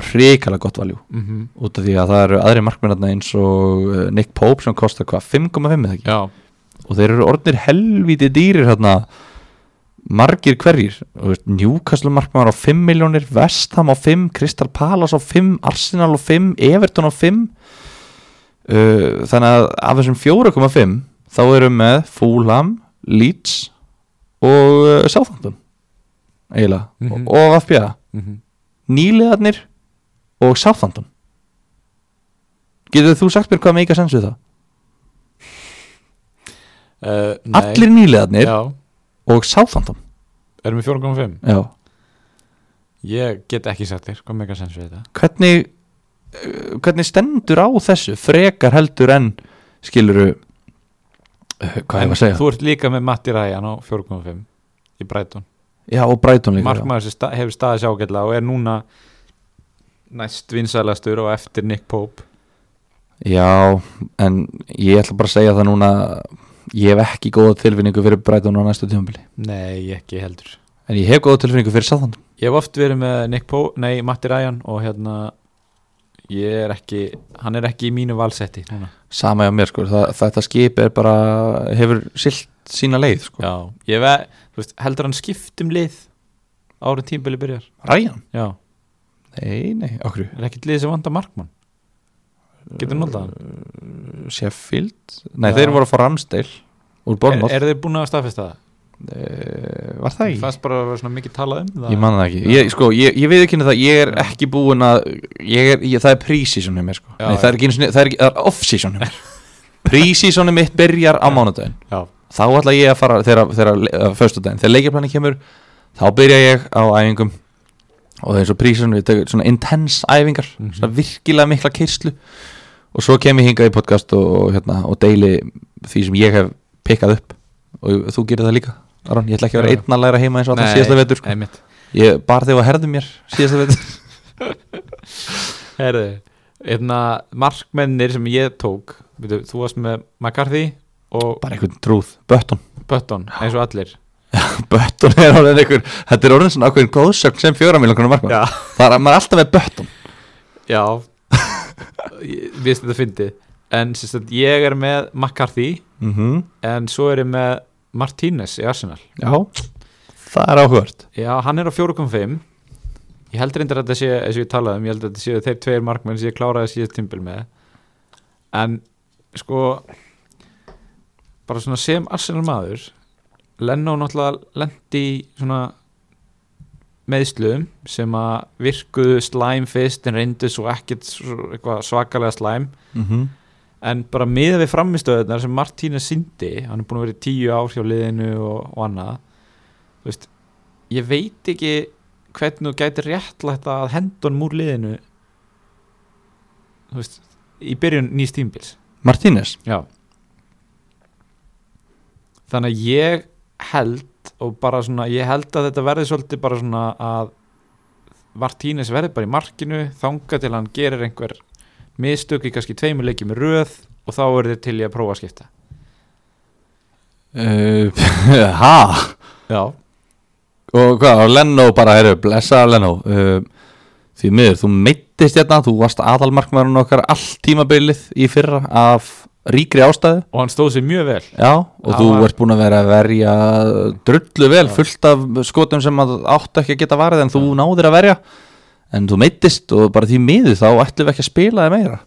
B: hrikalega gott valjú
A: mm
B: út af því að það eru aðri markmennarna eins og eh, Nick Pope sem kostar hvað 5,5 eða ekki
A: Já,
B: og þeir eru orðnir helvíti dýrir hérna margir hverjir Þú veist, Newcastle markmannar á 5 miljónir Vestham á 5, Crystal Palace á 5 Arsenal á 5, Everton á 5 uh, þannig að af þessum 4,5 þá eru með Fulham, Leeds og uh, Southampton eiginlega
A: Mhm.
B: og, og FBA
A: mm
B: nýliðarnir og Southampton getur þú sagt mér hvað meika sens við það?
A: uh, nei.
B: allir nýliðarnir
A: Já,
B: og Southampton
A: erum við 4.5
B: já
A: Ég get ekki sagt þér, hvað meika sens við þetta
B: hvernig uh, hvernig stendur á þessu frekar heldur en skiluru uh, hvað
A: En
B: er að segja
A: Þú ert líka með Matti Ræjan á 4.5 í Breitón
B: já og Brighton líka já.
A: Markmaður sem sta hefur staðið sjágætla og er núna næst vinsælastur og eftir Nick Pope
B: já en ég ætla bara að segja það núna ég hef ekki góða tilfinningu fyrir Brighton á næstu tímabili
A: Nei, ekki heldur
B: en ég hef góða tilfinningu fyrir Southampton
A: Ég hef oft verið með Nick Pope, nei, Matti Ræjan og hérna ég er ekki, hann er ekki í mínu valsetti núna
B: sama hjá mér sko það, þetta skip er bara hefur silt sína leið sko
A: Já, ég ve, þú veist, heldur hann skipt um lið árið tímbili byrjar
B: Ryan
A: Já,
B: nei nei okkur
A: er ekkert lið sem vandar markmann Getur notað hann
B: Sheffield nei
A: Já.
B: þeir voru að fá Ramsdale úr Bournemouth
A: Er, er þeir búin að staðfesta það?
B: Eh, var það
A: Mér
B: ekki?
A: fannst bara að vera svona mikið talað um það
B: Ég man það ekki, ég, sko, ég, ég veit ekki henni það, ég er ekki búinn að, ég er, ég, það er pre-season hjá mér sko,
A: Já,
B: Nei, það er ekki, einu sinni- það er, ekki- það er off-season hjá mér, pre-seasonið mitt byrjar á mánudaginn,
A: Já,
B: þá ætla ég að fara þegar, þegar, uh, föstudaginn, þegar leikjaplanin kemur, þá byrja ég á æfingum og það er svo pre-season, við tegur svona intense æfingar,
A: Mhm.
B: svona virkilega mikla kyrslu og svo kem ég hingað í podcast og, og, hérna, og deili því sem ég hef pikkað upp og þú gerir það líka, Aron, ég ætla ekki að vera
A: Já.
B: einn að læra heima eins og alltaf síðasta vetur sko.
A: einmitt
B: Ég bar þig á herðum mér síðasta veit
A: Herðu, einna markmennir sem ég tók veitu, Þú varst með McCarthy og
B: Bara einhvern trúð, Bötton
A: Button, eins og allir
B: Bötton er orðin einhver, þetta er orðin svona ákveðin góðsögn sem fjóra miljónkunar markmann
A: Já,
B: Það er að maður er alltaf með Bötton
A: já Ég- Við þetta fyndið En sem sagt, ég er með McCarthy
B: mm -hmm.
A: En svo er ég með Martínez í Arsenal
B: Já, það er áhugvart
A: Já, hann er á 4.5 Ég held reyndar að þetta sé, eins og ég talaði um ég held að þetta séu þeir tveir markmenn sem ég kláraði síðast timbil með en sko bara svona sem Arsenal maður Lennó náttúrulega lendi í svona meðslum sem að virkuðu slæm fyrst en reyndu svo ekkit svo eitthvað svakalega slæm
B: mm -hmm.
A: en bara miða við framistöðunar sem Martínez sindi, hann er búin að vera í tíu ár hjá liðinu og, og annað þú veist, ég veit ekki hvernig þú gæti réttlætt að hendun múr liðinu þú veist í byrjun nýst tímbils
B: Martínez
A: Já Þannig að ég held og bara svona, ég held að þetta verði svolítið bara svona að Martínez verði bara í markinu þanga til hann gerir einhver mistök í kannski tveimur leikjum í röð og þá er þeir til í að prófa að skipta
B: uh, Ha,
A: Já,
B: og hvað, og Leno bara, herru, blessa Leno uh, Því miður, þú meittist hérna, þú varst aðalmarkmann okkar allt tímabilið í fyrra af ríkri ástæðu
A: og hann stóð sér mjög vel
B: Já, og
A: Það
B: þú
A: var-
B: ert búin að vera að verja drullu vel,
A: Já.
B: fullt af skotum sem að áttu ekki að geta varðið en þú náðir að verja en þú meittist og bara því miður þá ætlum við ekki að spila þig meira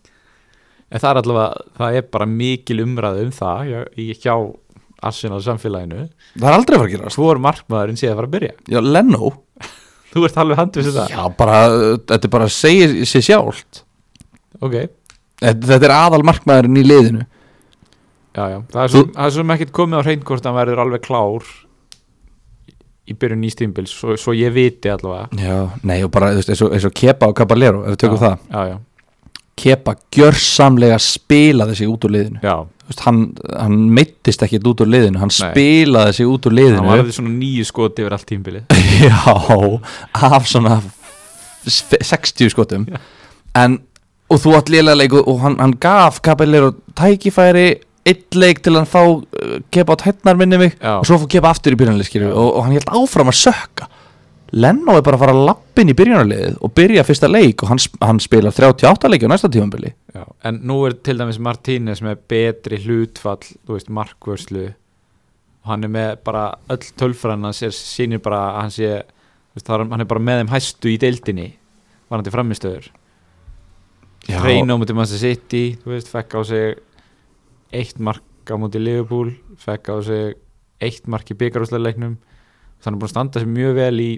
A: En það er allavega, það er bara mikil umræðu um það hjá- í hjá Arsenal samfélaginu
B: Það er aldrei að fara að gera
A: Svo er markmaðurinn séð að fara að byrja
B: Já, Leno
A: Þú ert alveg handið þessu það
B: Já, bara, þetta er bara að segja sér sjálft
A: Ok,
B: Þetta, þetta er aðal markmaðurinn í liðinu
A: Já, já, það er svo,
B: Þú-
A: það er svo ekkert komið á hreint hvort hann verður alveg klár í byrjun nýst tímbils svo, svo ég viti allavega
B: Já, nei og bara, þú veist, eins og, eins og Kepa og Caballero ef við tökum
A: já, Já, já,
B: það kepa gjörsamlega spilaði sig út úr liðinu
A: já,
B: Þú veist, hann, hann meittist ekkit út úr liðinu hann
A: Nei.
B: spilaði sig út úr
A: hann
B: liðinu
A: varði svona nýju skoti yfir allt tímbili
B: já, af svona f- 60 skotum
A: Já.
B: en, og þú átt lélega leik og- og hann, hann gaf Caballero tækifæri eitt leik til hann fá uh, kepa á tætnar minni mig
A: Já.
B: og svo fór kepa aftur í byrjanarlið og, og hann held áfram að sökka Lennó er bara að fara að lappin í byrjanarliðið og byrja fyrsta leik og hann, sp- hann spilar 38 leiki á næsta tímanbili
A: já. en nú er til dæmis Martínez með betri hlutfall, þú veist, markvörslu hann er með bara öll tölfræðan hans er sínir bara að hann sé, þú veist, það er- hann er bara með þeim hæstu í deildinni, varandi framistöður reyna á mútið Manchester City þú veist, fekk á sig eitt mark á mútið Liverpool fekk á sig eitt mark í byggarúsleiknum þannig búin að standa sér mjög vel í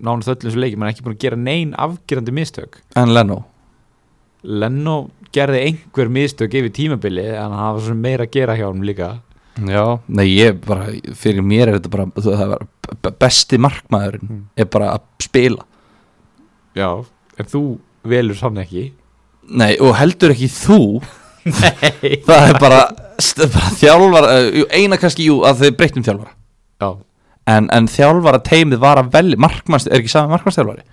A: nánast öllum þessu leikum, hann er ekki búin að gera nein afgerandi mistök
B: en Lennó
A: Leno gerði einhver mistök yfir tímabili en hann hafa svo sem meira að gera hjá hann líka
B: Já, nei ég bara, fyrir mér er þetta bara, þú- það var b- besti markmaðurinn
A: Mm.
B: er bara að spila
A: já, en þú velur hann ekki
B: Nei, og heldur ekki þú,
A: nei
B: það er bara, st- bara þjálfar, eina kannski jú að þau breytum þjálfara
A: já,
B: En, en þjálfara teimið var að velja, markmanns, er ekki sami markmannstjálfari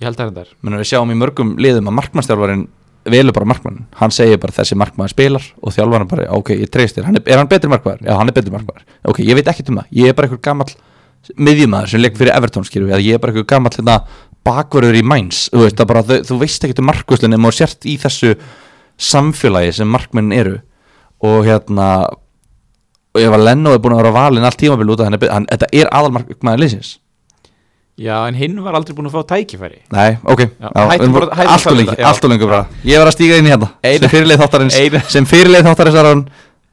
A: ég held það reyndar
B: Menum við sjáum í mörgum liðum að markmannstjálfarin velur bara markmann Hann segir bara þessi markmaður spilar og þjálfarinn bara, ok, ég treyst þér, hann er, er hann betri markmaður? Já, hann er betri markmaður Ok, ég veit ekkert um það, ég er bara einhver gamall miðjumæður sem leik fyrir Everton skilur við að ég er bara einhver gammal hérna bakverður í Mainz þú veist, það bara, þau, þú veist ekkert um markvöslun ef maður sért í þessu samfélagi sem markmenn eru og hérna og ef að Leno er búin að vera valinn allt tímabil út af hann, er be- hann þetta er aðalmarkmaður leysins
A: já, en hinn var aldrei búin að fá tækifæri
B: Nei, ok,
A: Já,
B: já,
A: hættum
B: en-
A: bara- hættum
B: allt og
A: að tala um
B: lengi,
A: þetta, já.
B: allt og lengi bara Ég var að stíga inn í hérna,
A: Eina-
B: sem fyrirleið þáttarins
A: eina-
B: sem fyrirleið þáttarins er hann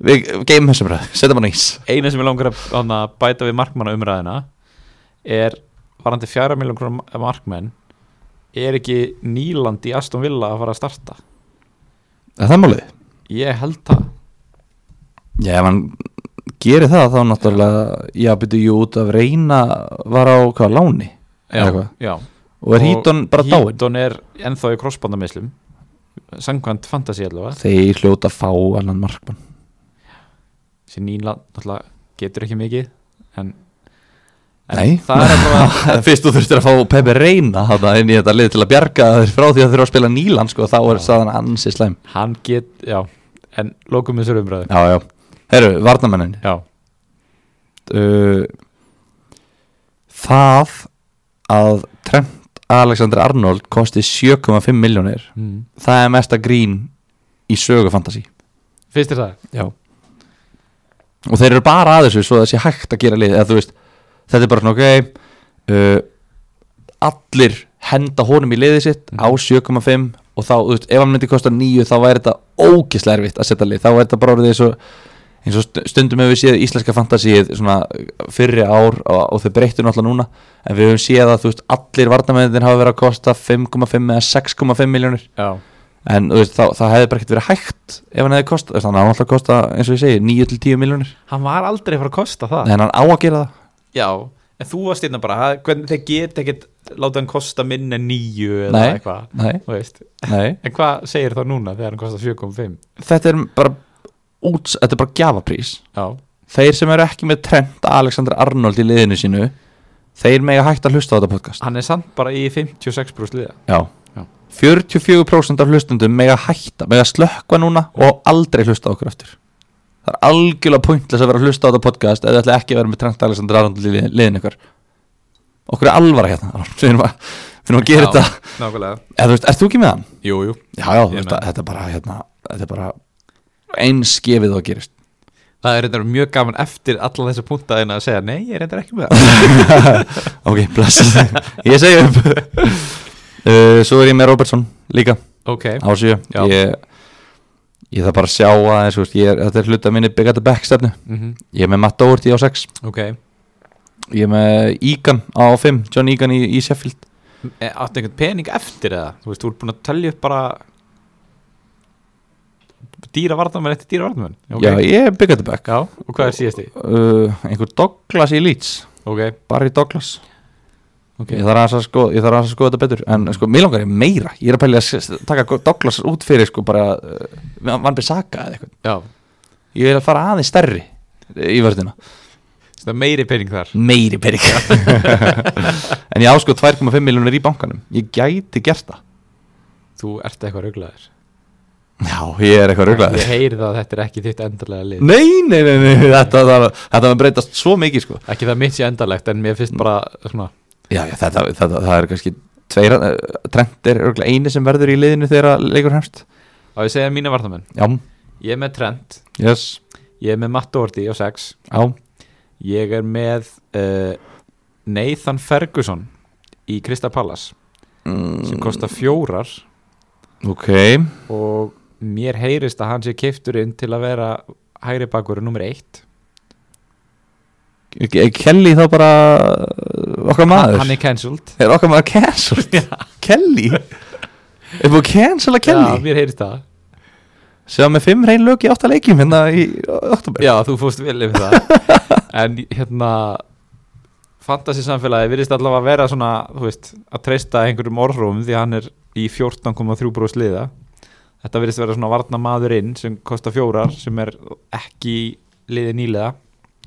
B: við geymum þessum ræð, setjum hann í ís
A: eina sem ég langar að hana, bæta við markmanna umræðina er varandi fjara miljón krónar markmenn er ekki Nýland í Aston Villa að fara að starta
B: Er það málið?
A: ég held það
B: Já, ef hann gerir það þá náttúrulega, já, byrju, jú, út af reyna var á, hvað, láni Eða
A: já,
B: hvað?
A: já.
B: og er hítun bara dáinn
A: Heaton er ennþá í krossbandamislum sangkvæmt fantasi allavega
B: Þeir hljóta að fá annan markmann
A: sem Nýland náttúrulega getur ekki mikið en, en
B: Nei.
A: það er allavega
B: Fyrst þú þurftir að fá Pepe reyna þarna inn í þetta lið til að bjarga þeir frá því að þurfa að spila nýland, sko, þá er
A: Já.
B: staðan ansi slæm
A: hann get, já en lókum þessar umræðu
B: Já, já, herru, varnamennin
A: já,
B: uh, það að Trent Alexander Arnold kosti 7,5 miljónir
A: Mm.
B: það er mesta grín í sögu fantasi
A: finnst þér það?
B: Já. og þeir eru bara að þessu svo það sé hægt að gera lið eða, þú veist, þetta er bara svona ok uh, allir henda honum í liðið sitt
A: Mhm.
B: á 7,5 og þá, þú veist, ef hann myndi kosta 9 þá væri þetta ógislega erfitt að setja lið þá væri þetta bara orðið eins og eins og st- stundum hefur við séð íslenska fantasíið svona fyrri ár og, og þau breyttu náttúrulega núna en við höfum séð að þú veist allir varnamennir hafa verið að kosta 5,5 eða 6,5 miljónir
A: já,
B: en þú veist, það, það hefði bara ekkert verið hægt ef hann hefði kosta, þannig að hann alltaf kosta eins og ég segi, 9 til 10 miljónir
A: hann var aldrei að fara að kosta það
B: en hann á að gera það
A: Já, en þú varst hérna bara ha, hvernig þeir geta ekkert láta hann kosta minna en nýju eða
B: Nei.
A: eitthvað
B: nei,
A: þú veist.
B: nei.
A: En hvað segir það núna þegar hann kostar 7,5?
B: þetta er bara út, þetta er bara gjafaprís
A: Já,
B: þeir sem eru ekki með Trent Alexander Arnold í liðinu sínu þeir mega hægt að hlusta á þetta podcast
A: hann er samt bara í 56 brúst liða
B: Já.
A: Já.
B: 44% af hlustundum mega hætta, mega slökka núna og aldrei hlusta á okkur aftur Það er algjörlega pointless að vera að hlusta á þetta podcast eða ætla ekki að vera með Trent Alexander Arnold í liðin, liðin ykkur Okkur er alvara hérna Arnold. Við erum að, við erum að gera
A: Já.
B: þetta
A: Nákvæmlega
B: eða, þú veist, Ert þú ekki með hann?
A: Jú, jú
B: Já,
A: Ég
B: já,
A: er
B: þetta,
A: með.
B: þetta er bara, hérna, þetta er bara eins gefið og gerist
A: Það er reyndar mjög gaman eftir alla þessa puntaðina að segja Nei, ég er reyndar ekki með það
B: Ok, bless Ég segi upp uh, Svo er ég með Robertson líka
A: Ok,
B: á sjö
A: Já.
B: ég, ég þarf bara að sjá aðeins þú veist, ég er, þetta er hluta minni big at the back stefnu
A: Mhm.
B: ég er með Matt Doherty á 6
A: ok
B: ég er með Egan á 5 John Egan í, í Sheffield
A: E, Áttu einhvern pening eftir eða? Þú veist, þú ert búin að telja upp bara dýra varnamenn eftir dýra varnamenn
B: já ég er big at the back
A: já, og hvað er síðasti?
B: uh, einhver Douglas í Leeds
A: Ok,
B: Barry Douglas Ég þarf aðeins að sko, ég þarf aðeins að sko þetta betur En sko, mér langar ég meira Ég er að pæli að s- s- taka Douglas út fyrir sko bara uh, Van Bissaka eða eitthvað
A: Já,
B: Ég vil að fara aðeins stærri í vörðina
A: það er meiri pening þar
B: Meiri perik En ég á sko 2,5 miljonir í bankanum Ég gæti gert það
A: Þú ert eitthvað ruglaður
B: Já, ég er eitthvað rugglaður
A: Ég heyri það að þetta er ekki þitt endarlega lið
B: Nei, nei, nei, nei, þetta, þetta, þetta var breytast svo mikið sko
A: Ekki það mitt sé endarlegt en mér finnst bara svona,
B: Já, já þetta, þetta, það er kannski tveira, eh, Trent er örugglega eini sem verður í liðinu þegar leikur hefst
A: á ég segja mína varnamenn
B: Já,
A: Ég er með Trent,
B: yes,
A: ég er með Matt Doherty á 6
B: já,
A: Ég er með uh, Nathan Ferguson í Krista Pallas sem
B: mm,
A: kostar fjórar
B: ok
A: og mér heyrist að hann sé keifturinn til að vera hægri bakurinn nummer eitt
B: Ke- Kelly þá bara eh, okkar maður
A: Hann er cancelled
B: er okkar maður cancelled Kelly er búið að cancella
A: Já,
B: Kelly
A: mér heyrist það
B: sem með fimm reyn lög í átta leikjum hérna í oktober
A: Já, þú fóst vel yfir það En hérna Fantasy samfélagi virðist allavega að vera svona þú veist, að treysta einhverjum orðrúm því að hann er í 14,3 brúst liða Þetta virðist vera svona varna maðurinn sem kostar fjórar sem er ekki í liði nýliða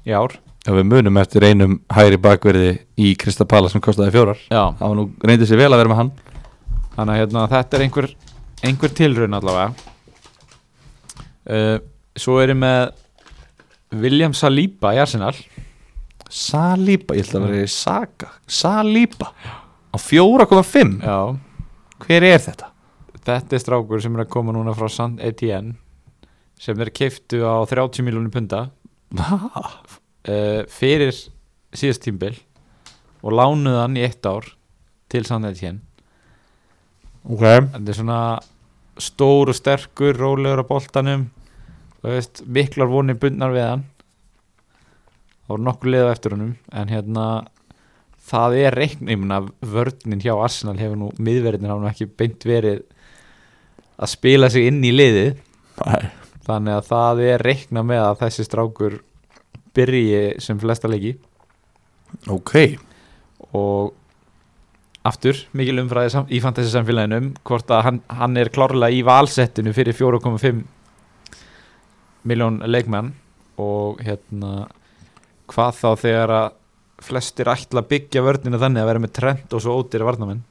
A: í ár
B: Já, við munum eftir einum hægri bakverði í Krista Pala sem kostaði fjórar
A: Já,
B: það var nú reyndið sér vel að vera með hann
A: þannig að hérna, þetta er einhver, einhver tilraun allavega uh, Svo er ég með William Saliba í Arsenal
B: Saliba, ég ætla að vera í Saga Saliba á 4,5
A: Já,
B: hver er þetta?
A: þetta er strákur sem er að koma núna frá San Etienne sem er keiftu á 30 miljónum punda
B: Ha?
A: uh, fyrir síðast tímbil og lánuð hann í eitt ár til San Etienne
B: ok
A: þetta er svona stór og sterkur, rólegur á boltanum þú veist, miklar vonir bundnar við hann það voru nokkur liða eftir honum en hérna það er reiknum að vörnin hjá Arsenal hefur nú miðverðin hafa nú ekki beint verið að spila sig inn í liðið þannig að það er reikna með að þessi strákur byrji sem flesta leiki
B: ok,
A: og aftur mikil umfræði sam- í fantasy samfélaginu um hvort að hann, hann er klárlega í valsettinu fyrir 4,5 miljón leikmenn og hérna hvað þá þegar að flestir ætla að byggja vörnina þannig að vera með trend og svo ódýra varnamenn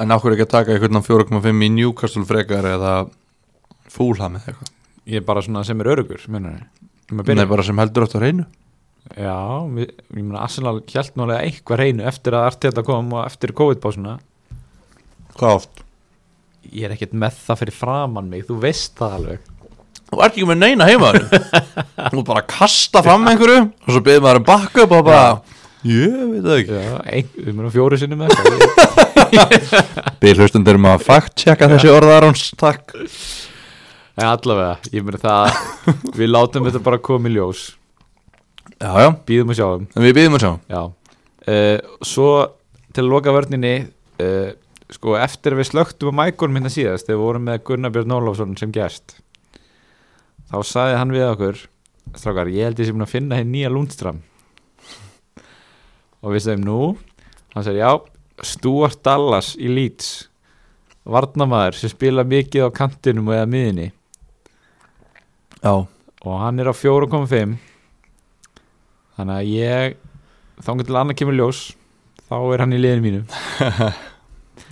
B: en áhverju ekki að taka einhvern á 4,5 í Newcastle frekar eða Fulham eða eitthvað
A: ég er bara svona sem er örugur munur
B: Nei, bara sem heldur átt á hreinu
A: Já, við, ég meina Arsenal hjælt nálega eitthvað reynu eftir að Arteta kom og eftir COVID-básuna
B: Hvað oft?
A: Ég er ekkert með það fyrir framann mig, þú veist það alveg
B: Þú ert ekki með neina heima Þú ert bara að kasta fram einhverju og svo byrðum maður um backup og bara Ég veit það ekki
A: Já, ein, við munum fjóru sinni með það
B: Byrð hlustundur um að fact checka þessi orðaróns Takk
A: En allavega, ég meina það, við látum þetta bara koma í ljós
B: Já, já,
A: Býðum og sjáum
B: en við byrðum að sjá
A: Já uh, Svo til að loka vörninni uh, Sko eftir að við slögtum á mækunum hérna síðast Þegar við vorum með Gunnar Björn Ólafsson sem gest Þá sagði hann við okkur Strákar, ég held ég sem mun að finna hér nýja Lundstram Og við sagðum nú Hann sagði já, Stuart Dallas í Leeds Varnamaður sem spila mikið á kantinum og eða miðinni
B: Já,
A: og hann er á 4.5 þannig að ég þangar til annar kemur ljós þá er hann í liðinu mínu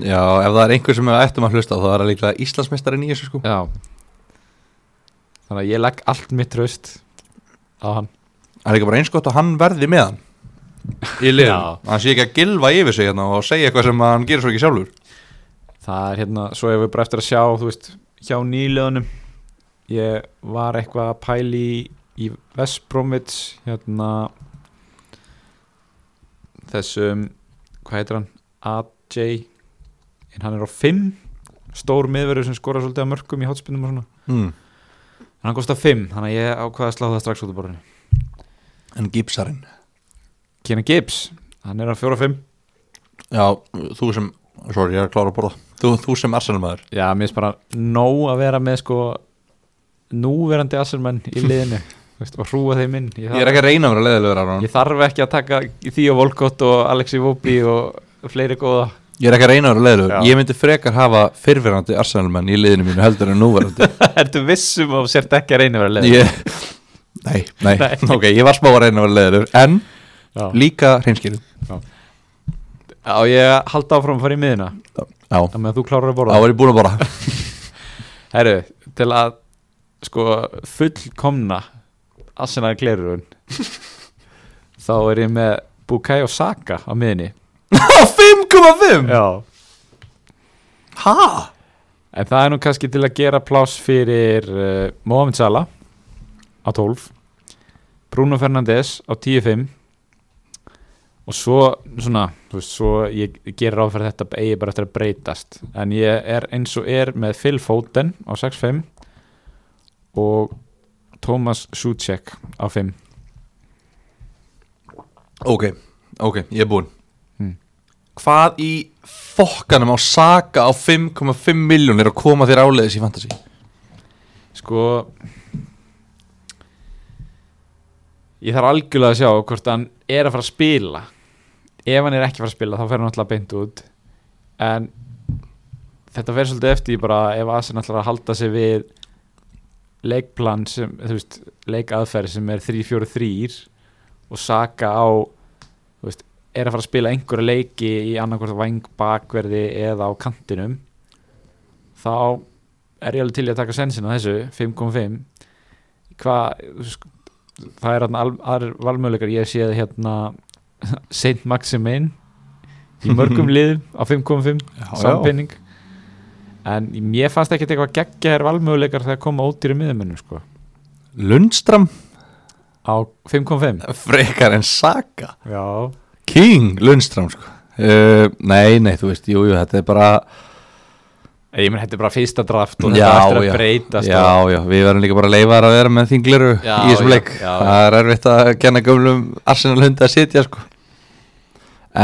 B: já ef það er einhver sem við ættum að hlusta á, þá er það líklega Íslandsmeistarinn í þessu sko
A: Já. þannig að ég legg allt mitt tröst á hann
B: Það er líka bara eins gott að hann verði með hann Í liðum, hann sé ekki að gilfa yfir sig hérna og segja eitthvað sem hann gerir svo ekki sjálfur
A: það er hérna, svo hefur við bara eftir að sjá þú veist, hjá nýliðunum ég var eitthvað að pæli í, í Vestbromits hérna þessum hvað heitir hann, AJ en hann er á 5 stór miðverður sem skorar svolítið að mörgum í hotspinnum og svona,
B: mm.
A: en hann kostar 5 þannig að ég ákvaða að slá það strax út af borðinu
B: En gipsarinn
A: Kenan Gibbs, hann er á 4-5
B: Já, þú sem, sorry, ég er að klára að borða Þú, þú sem arsenalmaður
A: já, mér finnst bara nóg að vera með sko núverandi assermenn í liðinu þú veist, og hrúa þeim inn ég
B: Ég er
A: þarf,
B: ekki að reyna að vera leiðilegur Aron
A: ég þarf ekki að taka Theo Volkott og Alexi Vopi og fleiri góða
B: Ég er ekki að reyna að
A: Já.
B: vera leiðilegur Ég myndi frekar hafa fyrfirandi arsenalmenn í liðinu mínu heldur en núverandi
A: ertu vissum og sért ekki að reyna að vera leið
B: ég... Nei, nei,
A: Nei.
B: ok, ég var smá að reyna að vera leiðilegur En líka hreinskilin
A: á ég að halda áfram að fara í miðina
B: Já,
A: á meðan þú klárar að
B: þá
A: borða
B: var ég búin að bora
A: herru, til að sko fullkomna Arsenal glerun þá er ég með Bukai og Saka á miðinni
B: 5,5
A: já
B: Ha?
A: En það er nú kannski til að gera pláss fyrir uh, Mohamed Salah á 12 Bruno Fernandes á 10-5 og svo svona, þú veist, svo ég gerir áfæri þetta eigi bara eftir að breytast en ég er eins og er með Phil Foden á 6-5 og Thomas Suchek á 5
B: Ok, ok, ég er búinn
A: Hmm.
B: Hvað í fokkanum á Saka á 5,5 miljónir að koma þér áleiðis í Fantasí?
A: sko ég þarf algjörlega að sjá hvort hann er að fara að spila ef hann er ekki að fara að spila þá fer hann alltaf beint út en þetta fer svolítið eftir því bara ef Asin ætlar að halda sig við leikplan sem, þú veist, leikaðferð sem er 3-4-3 og Saka á þú veist, er að fara að spila einhverja leiki í annarkvort væng bakverði eða á kantinum þá er ég alveg til í að taka sensin á þessu 5.5 hvað þú veist, það er hérna aðrir valmöðleikar ég séð hérna Saint Maximin í mörgum liðum á 5.5 sampinning en mér fannst ekkert eitthvað geggjaðir valmöðuleikar þegar koma ódýri miðumennum sko
B: Lundstram
A: á 5.5
B: frekar en Saka
A: já
B: King Lundstram sko Uh, nei, nei, þú veist, jú, jú, þetta er bara
A: ég menn þetta er bara fyrsta draft og
B: Já,
A: þetta er eftir
B: já.
A: að breytast
B: Já,
A: og-
B: já, við verðum líka bara að leifa þær að vera með þín gliru í
A: Já,
B: þessum
A: já,
B: leik
A: já, já.
B: Það er erfitt að kenna gömlum Arsenal hundi að sitja sko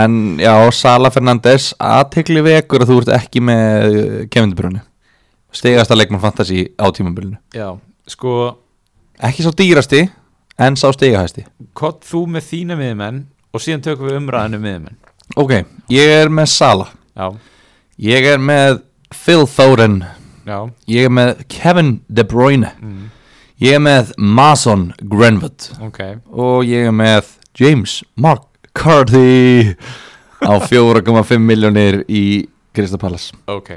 B: En já, Sala Fernandes aðtegli vekur að þú ert ekki með eh, kefindubrunni Stigasta leikmann fantasi á tímambilinu
A: já sko
B: Ekki sá dýrasti, en sá stigahæsti
A: hvað þú með þína miðumenn og síðan tökum við umræðinu miðumenn
B: Ok, ég er með Sala
A: já
B: Ég er með Phil Thoren
A: já
B: Ég er með Kevin De Bruyne
A: mm.
B: Ég er með Mason Grenwood
A: ok
B: og ég er með James Mark Carthy á 4,5 miljónir í Krista Palace
A: Ok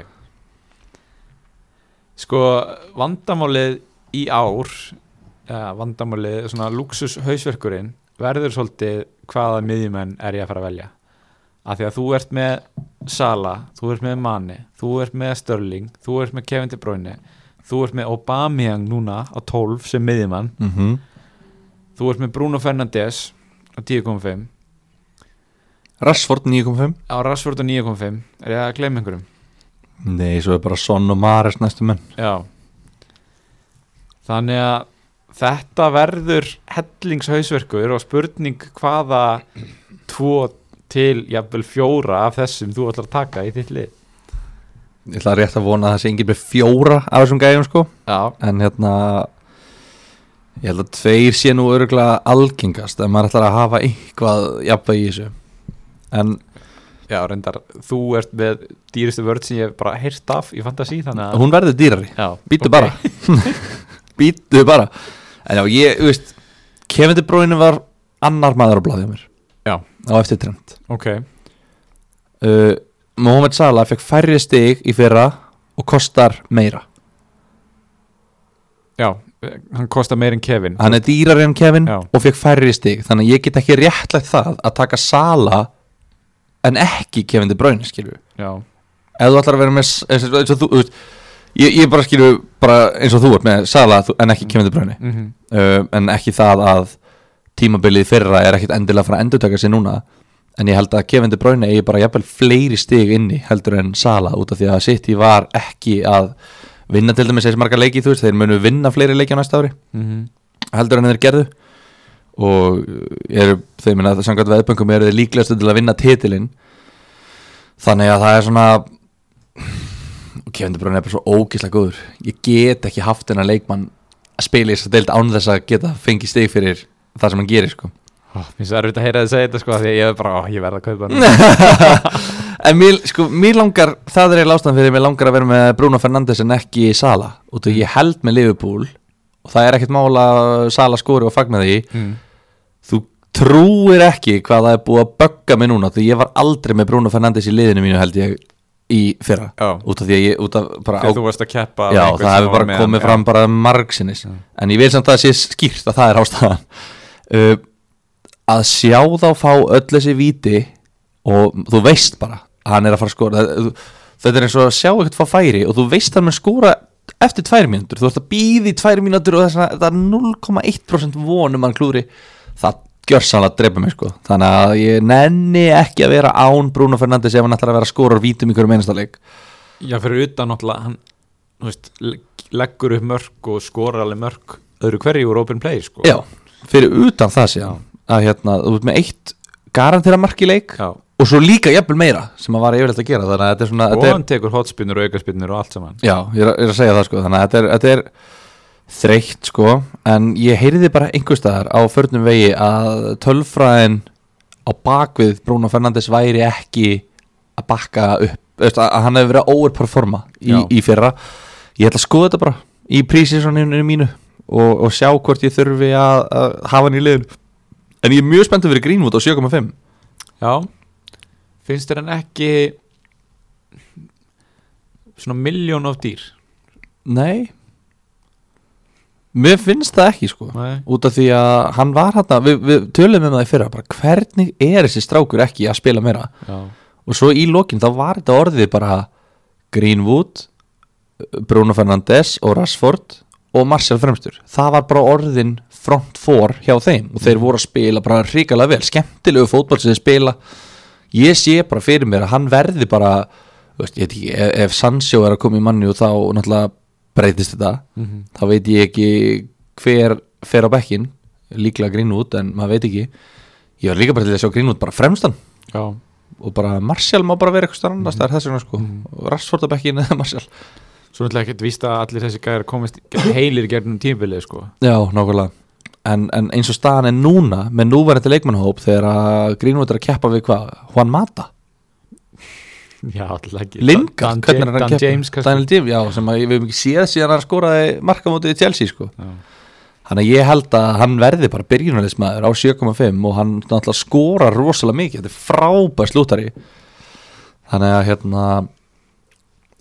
A: Sko vandamálið í ár ja, vandamálið, svona luxus hausverkurinn verður svolítið hvaða miðjumenn er ég að fara að velja af því að þú ert með Sala þú ert með Mane, þú ert með Störling þú ert með Kevin De Bruyne þú ert með Aubameyang núna á 12 sem miðjumann,
B: mm
A: þú ert með Bruno Fernandes á 10.5
B: Rashford 9,5
A: á Rashford á 9.5 er ég að glemma einhverjum?
B: Nei, svo er bara Son og Mares næstu menn
A: Já Þannig að þetta verður hellingshausverkur og spurning hvaða tvo til jafnvel fjóra af þessum þú ætlar að taka í þitt lið
B: Ég ætla rétt að vona að það sé engin með fjóra af þessum gæjum sko
A: Já,
B: en hérna ég held að tveir sé nú öruglega algengast en maður ætlar að hafa eitthvað jafnveg í þessu en
A: já reyndar, þú ert með dýristu vörð sem ég hef bara heyrt af í fantasi þannig að
B: hún verður dýrari
A: Já,
B: Býtu
A: ok.
B: bara Býtu bara En já, ég, þú veist Kevin De Bruyne var annar maður á blaði á mér
A: Já.
B: Á eftir trend
A: Ok,
B: uh, Mohamed Salah fekk færri stig í fyrra Og kostar meira
A: já, hann kostar meir en Kevin
B: Hann er dýrari en Kevin
A: Já.
B: Og fekk færri stig Þannig að ég get ekki réttlætt það Að taka Salah En ekki Kevin De Bruyne, skilju
A: Já,
B: Ef þú ætlar að vera með s- eins og eins og þú, þú veist Ég, ég bara skilju bara eins og þú ert með Salah þú- En ekki Kevin De Bruyne
A: mm
B: uh, en ekki það að tímabilið fyrra er ekkit endilega að fara að endurtaka sig núna en ég held að Kevin De Bruyne eigi bara jafnvel fleiri stig inni heldur en Sala út af því að City var ekki að vinna til dæmis eins marga leiki þú veist, þeir munu vinna fleiri leiki á næsta ári
A: Mhm.
B: heldur en þeir gerðu og eh, eru, þeir minna að samkvæmt veðböngum eru þeir líklegastu til að vinna titilinn þannig að það er svona og Kevin De Bruyne er bara svo ógislega góður ég get ekki haft hennar leikmann að spila í þess að deild án þess að geta fengið stig fyrir það sem hann gerir sko
A: Ó, Mér finnst það erfitt að heyra þið segja þetta sko af Því að ég er bara, ó, ég verð að kaupa hann
B: en mér, sko, mér langar það er eiginlega ástæðan fyrir mér langar að vera með Bruno Fernandes en ekki Sala út af ég held með Liverpool og það er ekkert mála Sala skori og fagna því
A: mm.
B: þú trúir ekki hvað það er búið að bögga mig núna því ég var aldrei með Bruno Fernandes í liðinu mínu held ég í fyrra
A: Já.
B: út af því að ég út af bara
A: Þegar þú varst að keppa
B: Já, það hefur bara komið fram bara margsinnis En ég vil samt að það sé skýrt að það er ástæðan uh, Að sjá þá fá öll þessi víti Og þú veist bara að Hann er að fara að skora Það- þú- Þetta er eins og að sjá ekkert fá færi Og þú veist að hann mun skora eftir tvær mínútur Þú ert að býði tvær mínútur Og þess að það er 0,1% vonum um hann klúri Það gjör sannlega að drepa mig sko Þannig að ég nenni ekki að vera án Bruno Fernandes Ef hann ætlar að vera að skora úr vítum í hverju meinstalleg
A: Já, fyrir utan náttúrulega hann þú veist, legg- leggur upp mörk og skorar alveg mörk öðru hverju úr open play sko.
B: Já, fyrir utan það síðan að hérna, þú ert með eitt garantera mark í leik
A: Já.
B: og svo líka jafnvel meira sem að var yfirleitt að gera þannig að þetta er svona
A: og
B: þetta er,
A: hann tekur hotspinnur og aukaspinnur og allt saman
B: Já, ég er, að- ég er að segja það sko þannig að þetta er, þetta er þreytt sko en ég heyrði bara einhvers staðar á förnum vegi að tölfræðin á bakvið Bruno Fernandes væri ekki að bakka upp þú veist, að að hann hefur verið að overperforma í,
A: Já.
B: í fyrra ég ætla að skoða þetta bara í prísinsoninu mínu og, og sjá hvort ég þurfi að, að hafa hann í liðin en ég er mjög spenntur fyrir Greenwood á 7.5
A: Já, finnst þér hann ekki svona miljón of dýr
B: nei mér finnst það ekki sko
A: Nei.
B: út af því að hann var hérna við, við tölum um það í fyrra bara hvernig er þessi strákur ekki að spila meira
A: Já,
B: og svo í lokin þá var þetta orðið bara Greenwood Bruno Fernandes og Rashford og Marcel Fremstur það var bara orðin front four hjá þeim og þeir voru að spila bara hrikalega vel skemmtilegu fótball sem þeir spila ég sé bara fyrir mér að hann verði bara þú veist, ég veit ekki, ef, ef Sancho er að koma í manni og þá náttúrulega breytist þetta
A: Mhm.
B: þá veit ég ekki hver fer á bekkin líklega Greenwood en maður veit ekki ég var líka bara til að sjá Greenwood bara fremstan
A: já
B: og bara Martial má bara vera eitthvað starf annars það er þess vegna sko
A: Mm.
B: og Rashford að bekkin eða Martial
A: Svo náttúrulega ekkert víst að allir þessi gæðar komist heilir í gegnum tímabilið sko
B: já, nákvæmlega en, en eins og staðan er núna með núverandi leikmannhóp þegar að Greenwood er að keppa við hvað Juan Mata,
A: Já, alltaf ekki
B: Lingard,
A: Dan,
B: hvernig er hann
A: Dan,
B: að
A: Dan
B: keppa
A: James kannski
B: Daniel James, já, sem að við hefum ekki séð síðan hann skoraði markamótið í Chelsea sko
A: Já.
B: Þannig að ég held að hann verði bara byrjunarleismæður á 7,5 og hann náttúrulega skorar rosalega mikið, þetta er frábær slútari Þannig að hérna,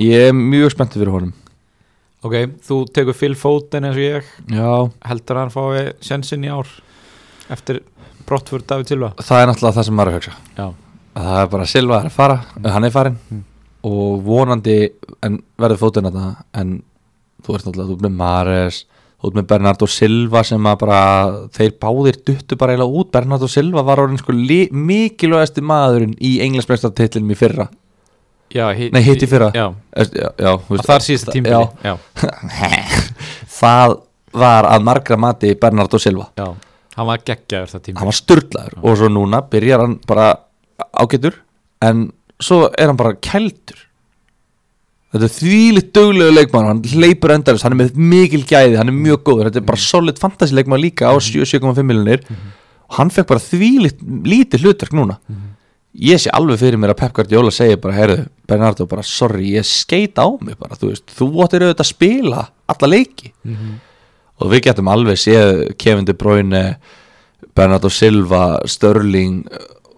B: ég er mjög spenntið fyrir honum
A: Ok, þú tekur Phil Foden eins og ég
B: Já,
A: heldur hann fái sjensin í ár eftir brottfur David Silva
B: það er náttúrulega það sem maður er að hugsa
A: Já,
B: að það er bara Silva er að fara, hann er farin
A: Mm.
B: og vonandi en verður fótinn þetta en þú ert náttúrulega, þú ert með Mares þú ert með Bernardo Silva sem að bara þeir báðir duttu bara eiginlega út Bernardo Silva var orðin sko li- mikilvægasti maðurinn í englandsmestartitlinum í fyrra
A: já hitt,
B: Nei, hitt í fyrra.
A: Já,
B: Erst- já, já, þú
A: Vist, þar síðasta tímbili
B: já,
A: já.
B: það var að margra mati Bernardo Silva
A: já, hann var geggjaður það tímbili
B: hann var sturdlaður og svo núna byrjar hann bara ágætur en svo er hann bara kældur þetta er þvílitt duglegu leikmann hann hleypur endarist, hann er með mikil gæði hann er mjög góður, þetta er bara solid fantasy leikmann líka á 7,5 miljonir og hann fekk bara þvílitt lítið hlutverk núna ég sé alveg fyrir mér að Pep Guardiola segir bara, heyrðu, Bernardo bara sorry, ég skeit á mig bara, þú veist þú áttir auðvitað að spila alla leiki og við getum alveg séð Kevin De Bruyne Bernardo Silva, Störling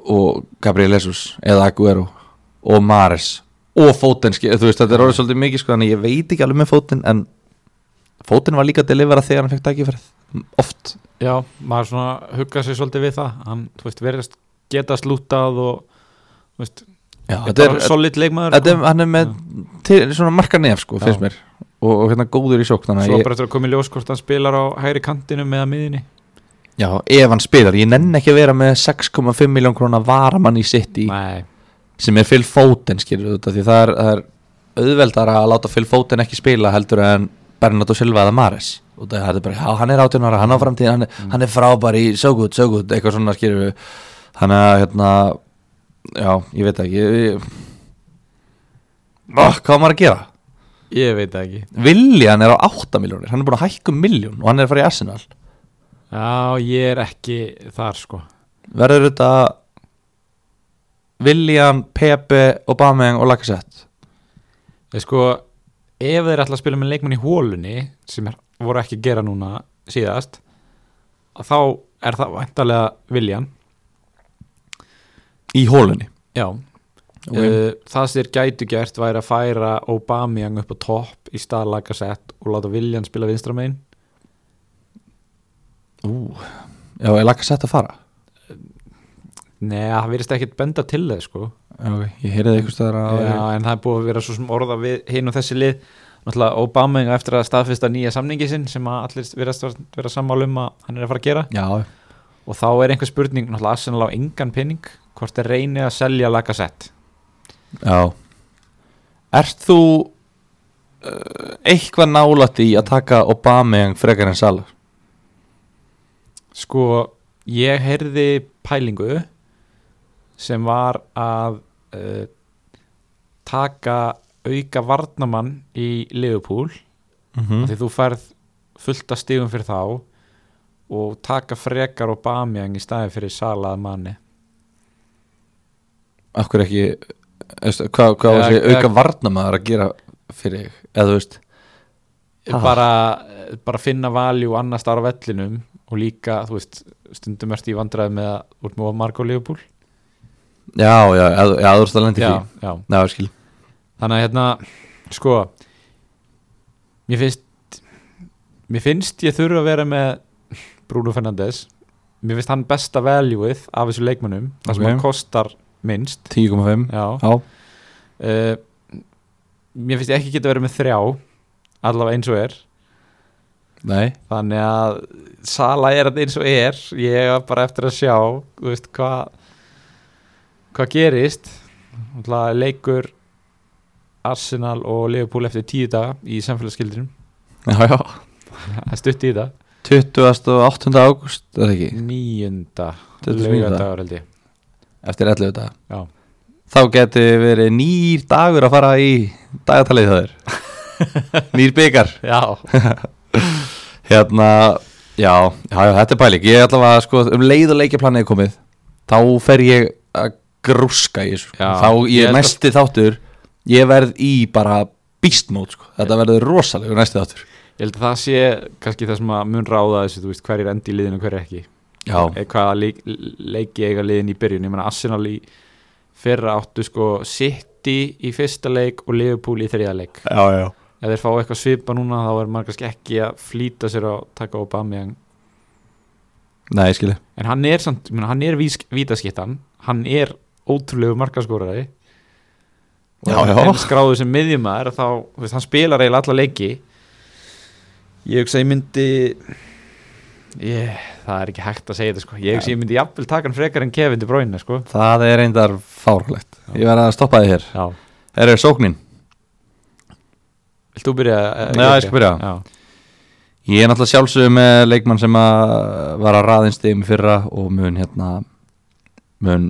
B: og Gabriel Jesus eða Aguero og Mares og Fóten, skil- þú veist þetta er orðið svolítið mikið sko, þannig að ég veit ekki alveg með Fóten en Fóten var líka að delivera þegar hann fekk dagifærið oft
A: Já, maður svona hugga sig svolítið við það hann, þú veist, verðast geta slútað og, þú veist,
B: Já,
A: er
B: þetta er,
A: bara solid leikmaður sko.
B: þetta er, hann er með til, svona marka nef sko,
A: Já.
B: finnst mér og, og hérna góður í sjók
A: sko.
B: þannig að
A: Svo
B: ég-
A: bara eftir að koma í ljós hvort hann spilar á hægri kantinum eða miðinni
B: Já, ef hann spilar, ég nenn ekki að vera með 6,5 miljón krónar varamann í sitt í
A: Nei,
B: sem er Phil Foden skilur þetta því það er, það er auðveldar að láta Phil Foden ekki spila heldur en Bernardo Silva eða Mares og það er bara, já, hann er 18 ára, hann á framtíð hann, mm. hann er frábær í so good, so good eitthvað svona skilur við hann er hérna, já, ég veit ekki ég, ég... Oh, hvað á maður að gera
A: Ég veit það ekki
B: Viljan er á 8 miljónir, hann er búin að hækka um miljón og hann er að fara í Arsenal
A: Já, ég er ekki þar sko
B: Verður þetta Viljan, Pepe, Aubameyang og Lacazette
A: Ég sko, ef þeir ætla að spila með leikmann í hólunni sem er, voru ekki að gera núna síðast að þá er það væntalega viljan
B: í hólunni
A: Já, uh, það sem þeir gætu gert væri að færa Aubameyang upp á topp í stað lagasett og láta viljan spila vinstramein
B: Ú, já, er Lacazette að fara?
A: Nei, það virðist ekkit benda til þeir sko
B: Okay. Ég heyriði einhvers staðar að
A: Já, en það er búið að vera svo sem orða við hinn og þessi lið Náttúrulega Aubameyang á eftir að staðfesta nýja samningi sinn sem að allir virðast vera sammál um að hann er að fara að gera
B: já,
A: og þá er einhver spurning náttúrulega Arsenal á engan pening hvort þeir reyni að selja lagasett
B: já. Ert þú uh, eitthvað nálætt í að taka Aubameyang frekar en Salah?
A: sko ég heyrði pælingu sem var að uh, taka auka varnamann í Liverpool
B: Mm
A: mm. því þú færð fullt af stígum fyrir þá og taka frekar og bamjang í staði fyrir salað manni
B: Akkur ekki veist, hvað, hvað ja,
A: Eða-
B: þessi auka
A: eða-
B: varnamaður að gera fyrir þig eða þú veist Ha.
A: bara, bara finna valjú annars þar á vellinum og líka þú veist stundum ertu í vandræði með að út með marg og Liverpool
B: já, já, eða, þú- já þú veist að lendi því
A: já, já.
B: Já, ég skil
A: þannig að hérna sko mér finnst mér finnst ég þurfa að vera með Bruno Fernandes mér finnst hann besta valueið af þessu leikmönnum það sem
B: Ok.
A: hann kostar minnst
B: 10,5
A: já.
B: Já,
A: Uh, mér finnst ég ekki geta verið með þrjá allavega eins og er
B: nei
A: þannig að Sala er þetta eins og er ég er bara eftir að sjá þú veist, hvað hvað gerist Náttúrulega leikur Arsenal og Liverpool eftir tíu daga í samfélagsskildinum
B: Já, já
A: það er stutt í það
B: 28. ágúst, er það ekki?
A: nýjunda
B: 29.
A: laugardagur held ég
B: Eftir 11 dag
A: Já.
B: Þá geti verið nýr dagur að fara í dagatalið það er Nýr byggar
A: já,
B: Hérna, já, já, já, þetta er pæling Ég ætla að sko, um leið og leikjaplanið er komið Þá fer ég að grúska í þessu sko.
A: Já,
B: Þá ég,
A: ég held að-
B: næsti þáttur Ég verð í bara beast mode sko. Þetta verður rosalegur næsti þáttur
A: ég held að það sé kannski það sem að mun ráða þessu þú veist hverjir endi í liðinu og hverjir ekki
B: Já,
A: Eh, hvaða leik, leiki eiga liðin í byrjun ég meina Arsenal í fyrra áttu sko City í fyrsta leik og Liverpool í þriða leik
B: já, já
A: ef þeir fá eitthvað svipa núna þá er maður kannski ekki að flýta sér að taka Aubameyang
B: Nei, ég skilji
A: en hann er samt, ég meina, hann er vís, vítaskittan hann er ótrúlegu markaskorari og
B: Já,
A: ef
B: já.
A: hann skráður sem miðjumæður þá, þú veist, hann spilar eiginlega alla leiki ég hugsa ég myndi ég, það er ekki hægt að segja þetta sko ég hugsa ég myndi jafnvel taka hann frekar en Kevin til bróinu sko
B: Það er reyndar fárlegt Ég verð að stoppa þið hér
A: já,
B: Er það sóknin?
A: vilt þú byrja? eh,
B: Já, ég skal byrja.
A: já,
B: Ég er náttúrulega sjálfsögum með leikmann sem að var að raðin stegum fyrra og mun hérna mun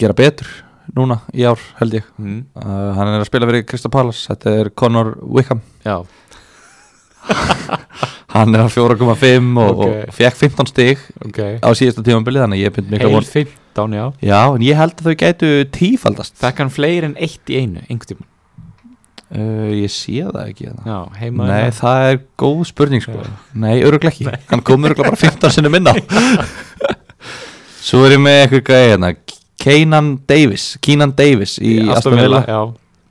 B: gera betur núna í ár held ég
A: mm,
B: uh, Hann er að spila fyrir Krista Palace Þetta er Connor Wickham
A: já.
B: Hann er að 4,5 og,
A: Ok.
B: og fekk 15 stig
A: ok
B: á síðasta tímambili þannig að ég pynt mikla
A: heil
B: von
A: 15, já
B: Já, en ég held að þau gætu tífaldast
A: fekk hann fleiri en eitt í einu, einhvern tíma
B: uh, Ég sé það ekki hérna.
A: já, heima
B: Nei,
A: hérna.
B: það er góð spurning sko Nei, öruglega ekki Hann kom öruglega bara 15 sinni minna Svo er ég með eitthvað gæði hérna Keinan Davis Keinan Davis í
A: Aston
B: Aston Villa
A: já,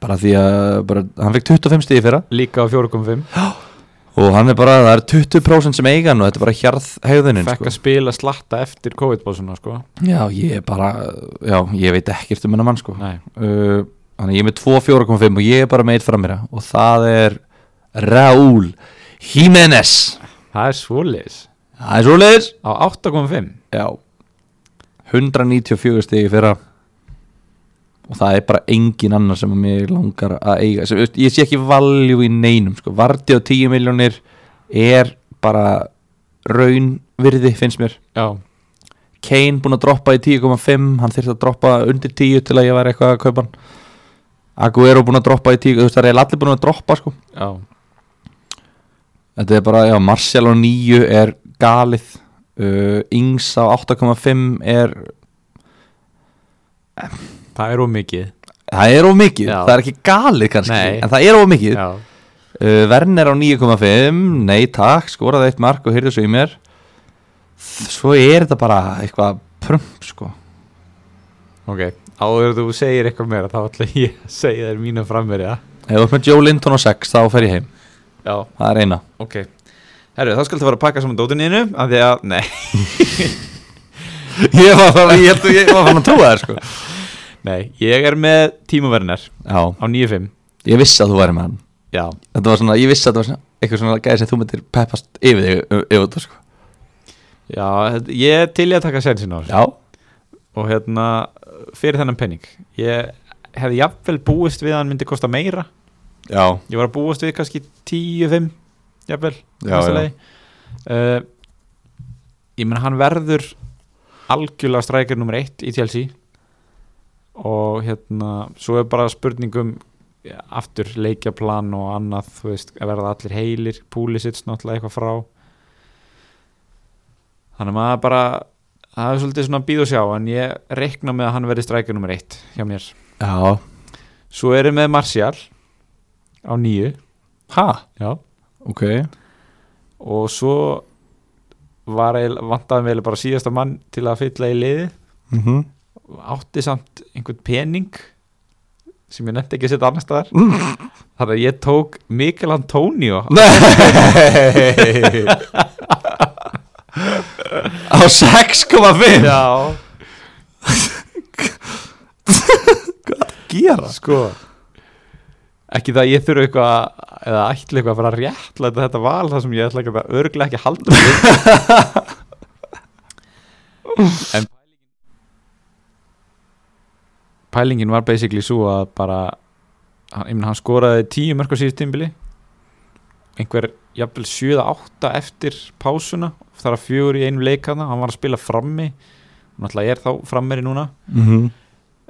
B: Bara því að bara, hann fekk 25 stíði fyrra
A: líka á 4.5
B: Og hann er bara, það er 20% sem eiga hann Og þetta er bara hjarð hegðunin
A: fekk
B: sko.
A: að spila slatta eftir COVID-bósuna sko.
B: Já, ég er bara Já, ég veit ekkert um hennar mann sko uh,
A: Nei,
B: Þannig að ég er með 2.4.5 Og ég er bara með eitt framýra Og það er Raúl Jiménez
A: það er svoleiðis
B: Það er svoleiðis
A: á 8.5
B: Já 194 stegi fyrra og það er bara engin annar sem mér langar að eiga sem, veist, ég sé ekki valjú í neinum sko. Varti á 10 miljónir er bara raunvirði finnst mér
A: já,
B: Kane búinn að droppa í 10,5 hann þyrfti að droppa undir 10 til að ég væri eitthvað að kaupa hann Aguero búin að droppa í tík þú veist það er eiginlega allir búin að droppa sko
A: já,
B: þetta er bara, já, Martial á 9 er galið uh, Ings á 8,5 er
A: það er ómikið
B: það er of mikið,
A: Já.
B: það er ekki galið kannski
A: Nei.
B: en það er of mikið
A: já,
B: uh, Werner á 9,5, nei takk skoraði eitt mark og hyrðu svo í mér svo er þetta bara eitthvað prump sko
A: ok áður en þú segir eitthvað meira þá ætla ég að segja þér mínu framverja
B: ef þú ert með Joe Linton á 6 þá fer ég heim
A: já,
B: það er eina
A: ok herru, þá skal þú fara að pakka saman dótininu af því að, nei,
B: ég var bara, ég held að ég var fann að trúa þér sko
A: nei ég er með tímaverðinar
B: já,
A: á 9.5
B: ég vissi að þú væri með hann
A: já,
B: þetta var svona, ég vissi að þetta var svona eitthvað svona gæði sem þú myndir peppast yfir þig ö- yfir þetta sko
A: já, þetta- ég er til ég að taka sensin á þessu
B: já,
A: og hérna, fyrir þennan penning ég hefði jafnvel búist við að hann myndi kosta meira
B: já,
A: ég var að búast við kannski 10-5 jafnvel,
B: Já, já.
A: uh, ég menn hann verður algjörlega strækir nummer 1 í TLC og hérna svo er bara spurningum aftur leikjaplan og annað þú veist, að verða allir heilir púlisits náttúrulega eitthvað frá þannig að maður bara það er svolítið svona býð og sjá en ég reikna með að hann verði strækir nummer 1 hjá mér
B: já,
A: svo erum við Martial á nýju
B: ha
A: já
B: ok,
A: og svo var eiginlega- vantaði mig eiginlega bara síðasta mann til að fylla í liði
B: mhm
A: átti samt einhvern pening sem ég nefndi ekki að setja annar staðar
B: Mm-hmm.
A: þannig að ég tók Mikael Antonio
B: Nei Á 6,5
A: já,
B: Gera
A: sko ekki það að ég þurfa eitthvað eða ætla eitthvað að fara að réttlæta þetta val þar sem ég ætla ekki að örglega ekki að halda mig en pælingin var basically svo að bara hann, ég meina, hann skoraði tíu mörg á síðust tímbili einhver jafnvel 7-8 eftir pásuna þar að fjögur í einu leikana hann var að spila frammi náttúrulega er þá frammeri núna
B: mm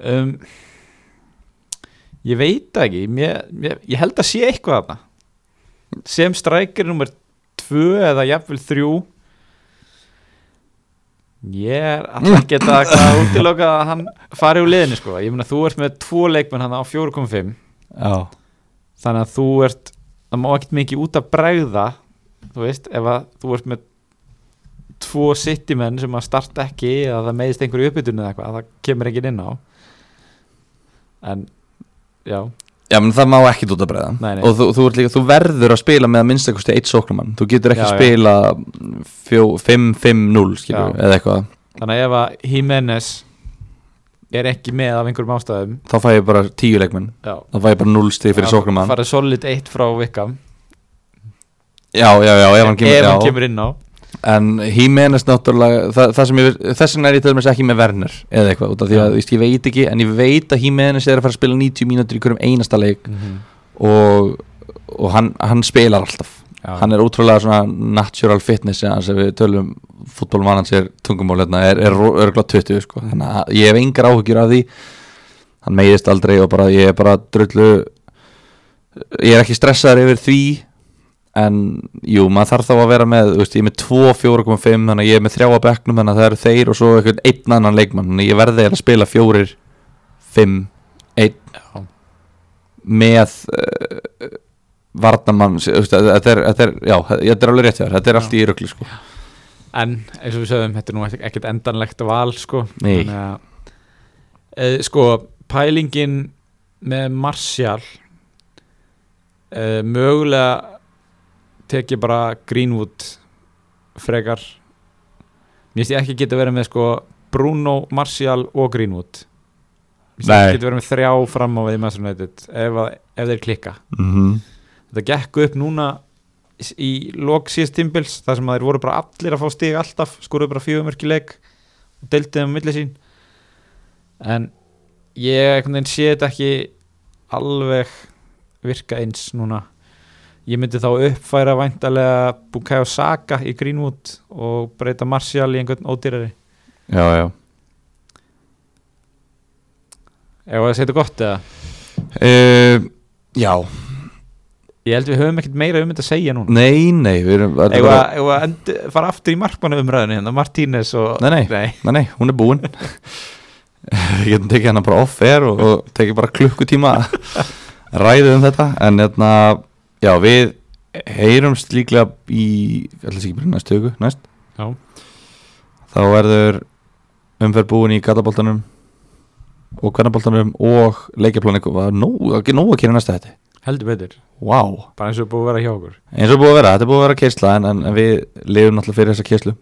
A: um, ég veit það ekki mér, mér, ég held að sé eitthvað þarna sem strækir nummer tvö eða jafnvel þrjú ég er alltaf geta að útiloka að hann fari úr liðinu sko ég meina þú ert með tvo leikmenn hann á 4.5
B: Já
A: þannig að þú ert það má ekkert mikið út að bregða þú veist, ef að þú ert með tvo sittimenn sem að starta ekki eða það meðist einhverju uppbytunni eða eitthvað, það kemur ekki inn á en já,
B: Já, menn það má ekki út að breiða
A: Nei, nei.
B: Og þú, þú, ert líka, þú verður að spila með að minnstakosti eitt sóknumann Þú getur ekki
A: Já, já.
B: að spila fjó- 5-5-0 skilur,
A: Já.
B: eða eitthvað
A: þannig að ef að Jimenez er ekki með af einhverjum ástæðum
B: Þá fæ ég bara 10 leikmenn
A: já,
B: Þá fæ ég bara 0 stig fyrir sóknumann
A: farið solid eitt frá Vikam
B: Já, já, já, ef hann kemur,
A: ef
B: já.
A: hann kemur inn á
B: En Hímenes náttúrulega það, það sem ég, Þess vegna er ég til dæmis ekki með Werner Eða eitthvað, út af því að
A: Já.
B: víst, ég veit ekki En ég veit að Hímenes er að fara að spila 90 mínútur Í hverjum einasta leik Og, og hann, hann spilar alltaf
A: já,
B: Hann er ótrúlega svona natural fitness Þannig að við tölum fútbolmann hans er tungumál hérna, Er, er ro- örugglega 20 sko. Þannig að ég hef engar áhyggjur af því Hann meiðist aldrei og bara, ég er bara drullu Ég er ekki stressaður yfir því en jú, maður þarf þá að vera með þú veist, ég er með 2, 4,5 þannig að ég er með 3 á bekknum þannig að það eru þeir og svo einhvern einn annan leikmann þannig að ég verði eiginlega að spila 4, 5, 1
A: Já.
B: með uh, varnamann þú veist, að- að þetta er, þetta er, já, þetta er alveg rétt hjá þér, þetta er allt í rugli sko.
A: en eins og við sögum, þetta er nú ekkert- ekkert endanlegt val sko
B: Nei.
A: Þannig að, e, sko, pælingin með Martial e, mögulega tek ég bara Greenwood frekar mér finnst ég ekki geta verið með sko Bruno, Martial og Greenwood mér finnst
B: Nei.
A: ég geta verið með þrjá fram á við í Manchester United ef, að, ef þeir klikka
B: mm -hmm.
A: þetta gekk upp núna s- í lok síðast tímbils þar sem að þeir voru bara allir að fá stig alltaf skoruðu bara fjögur mörki leik og deildið þeim um milli sín en ég einhvern veginn sé þetta ekki alveg virka eins núna ég myndi þá uppfæra væntalega Bukayo Saka í Greenwood og breyta Martial í einhvern ódýrari
B: já, já
A: ef það setja gott eða
B: uh, Já,
A: Ég held við höfum ekkert meira um þetta að segja núna
B: nei, nei Við erum þetta
A: Eða
B: bara-
A: bara... fara aftur í markmannu umræðinu hérna, Martínez og
B: Nei, nei. Nei, nei, hún er búin Ég getum tekið hana bara off-air og, og tekið bara klukkutíma að ræðu um þetta En hérna, já, við heyrumst líklega í, allir sér ekki bara í næstu hugu, næst
A: Já.
B: Þá verður umferð búin í gataboltanum og kvennaboltanum og leikjaplaniku Var nóg, ekki nóg að kynna næsta þetta
A: Heldur betur,
B: Vá wow.
A: bara eins og er búið að vera hjá okkur
B: eins og búið að vera, þetta er búið að vera keisla en, en, en við lifum náttúrulega fyrir þessa keislu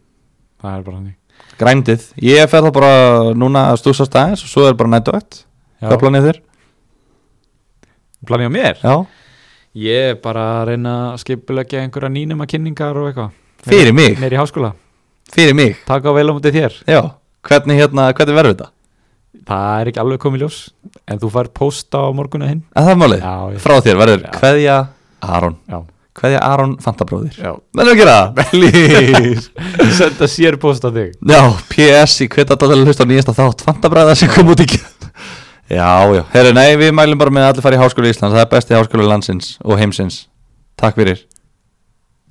A: Það er bara þannig
B: grændið, ég fer þá bara núna að stúsa staðins og svo er bara nættuvægt hvað
A: plan...
B: planið þér?
A: Planið á mér?
B: Já,
A: Ég er bara að reyna að skipulegja einhverja nýnum að kynningar og eitthvað
B: fyrir mig,
A: Mér í háskóla,
B: fyrir mig
A: taka á vel á mútið þér
B: já, hvernig hérna, hvernig verður þetta?
A: Það er ekki alveg komið ljós En þú fær pósta á morgunu hinn
B: að það er málið,
A: Já, ég...
B: Eh. frá þér verður
A: Já.
B: hverja Aron,
A: Já.
B: hverja Aron fantabróðir
A: Já.
B: verður að gera það, please
A: Senda sér pósta þig
B: já, PS, ég hvita alltaf að hlusta á nýjasta þátt fantabræða sem kom út í kjönd já, já, herru, nei, við mælum bara með að allir fara í háskóla Íslands það er besti háskóla landsins og heimsins takk fyrir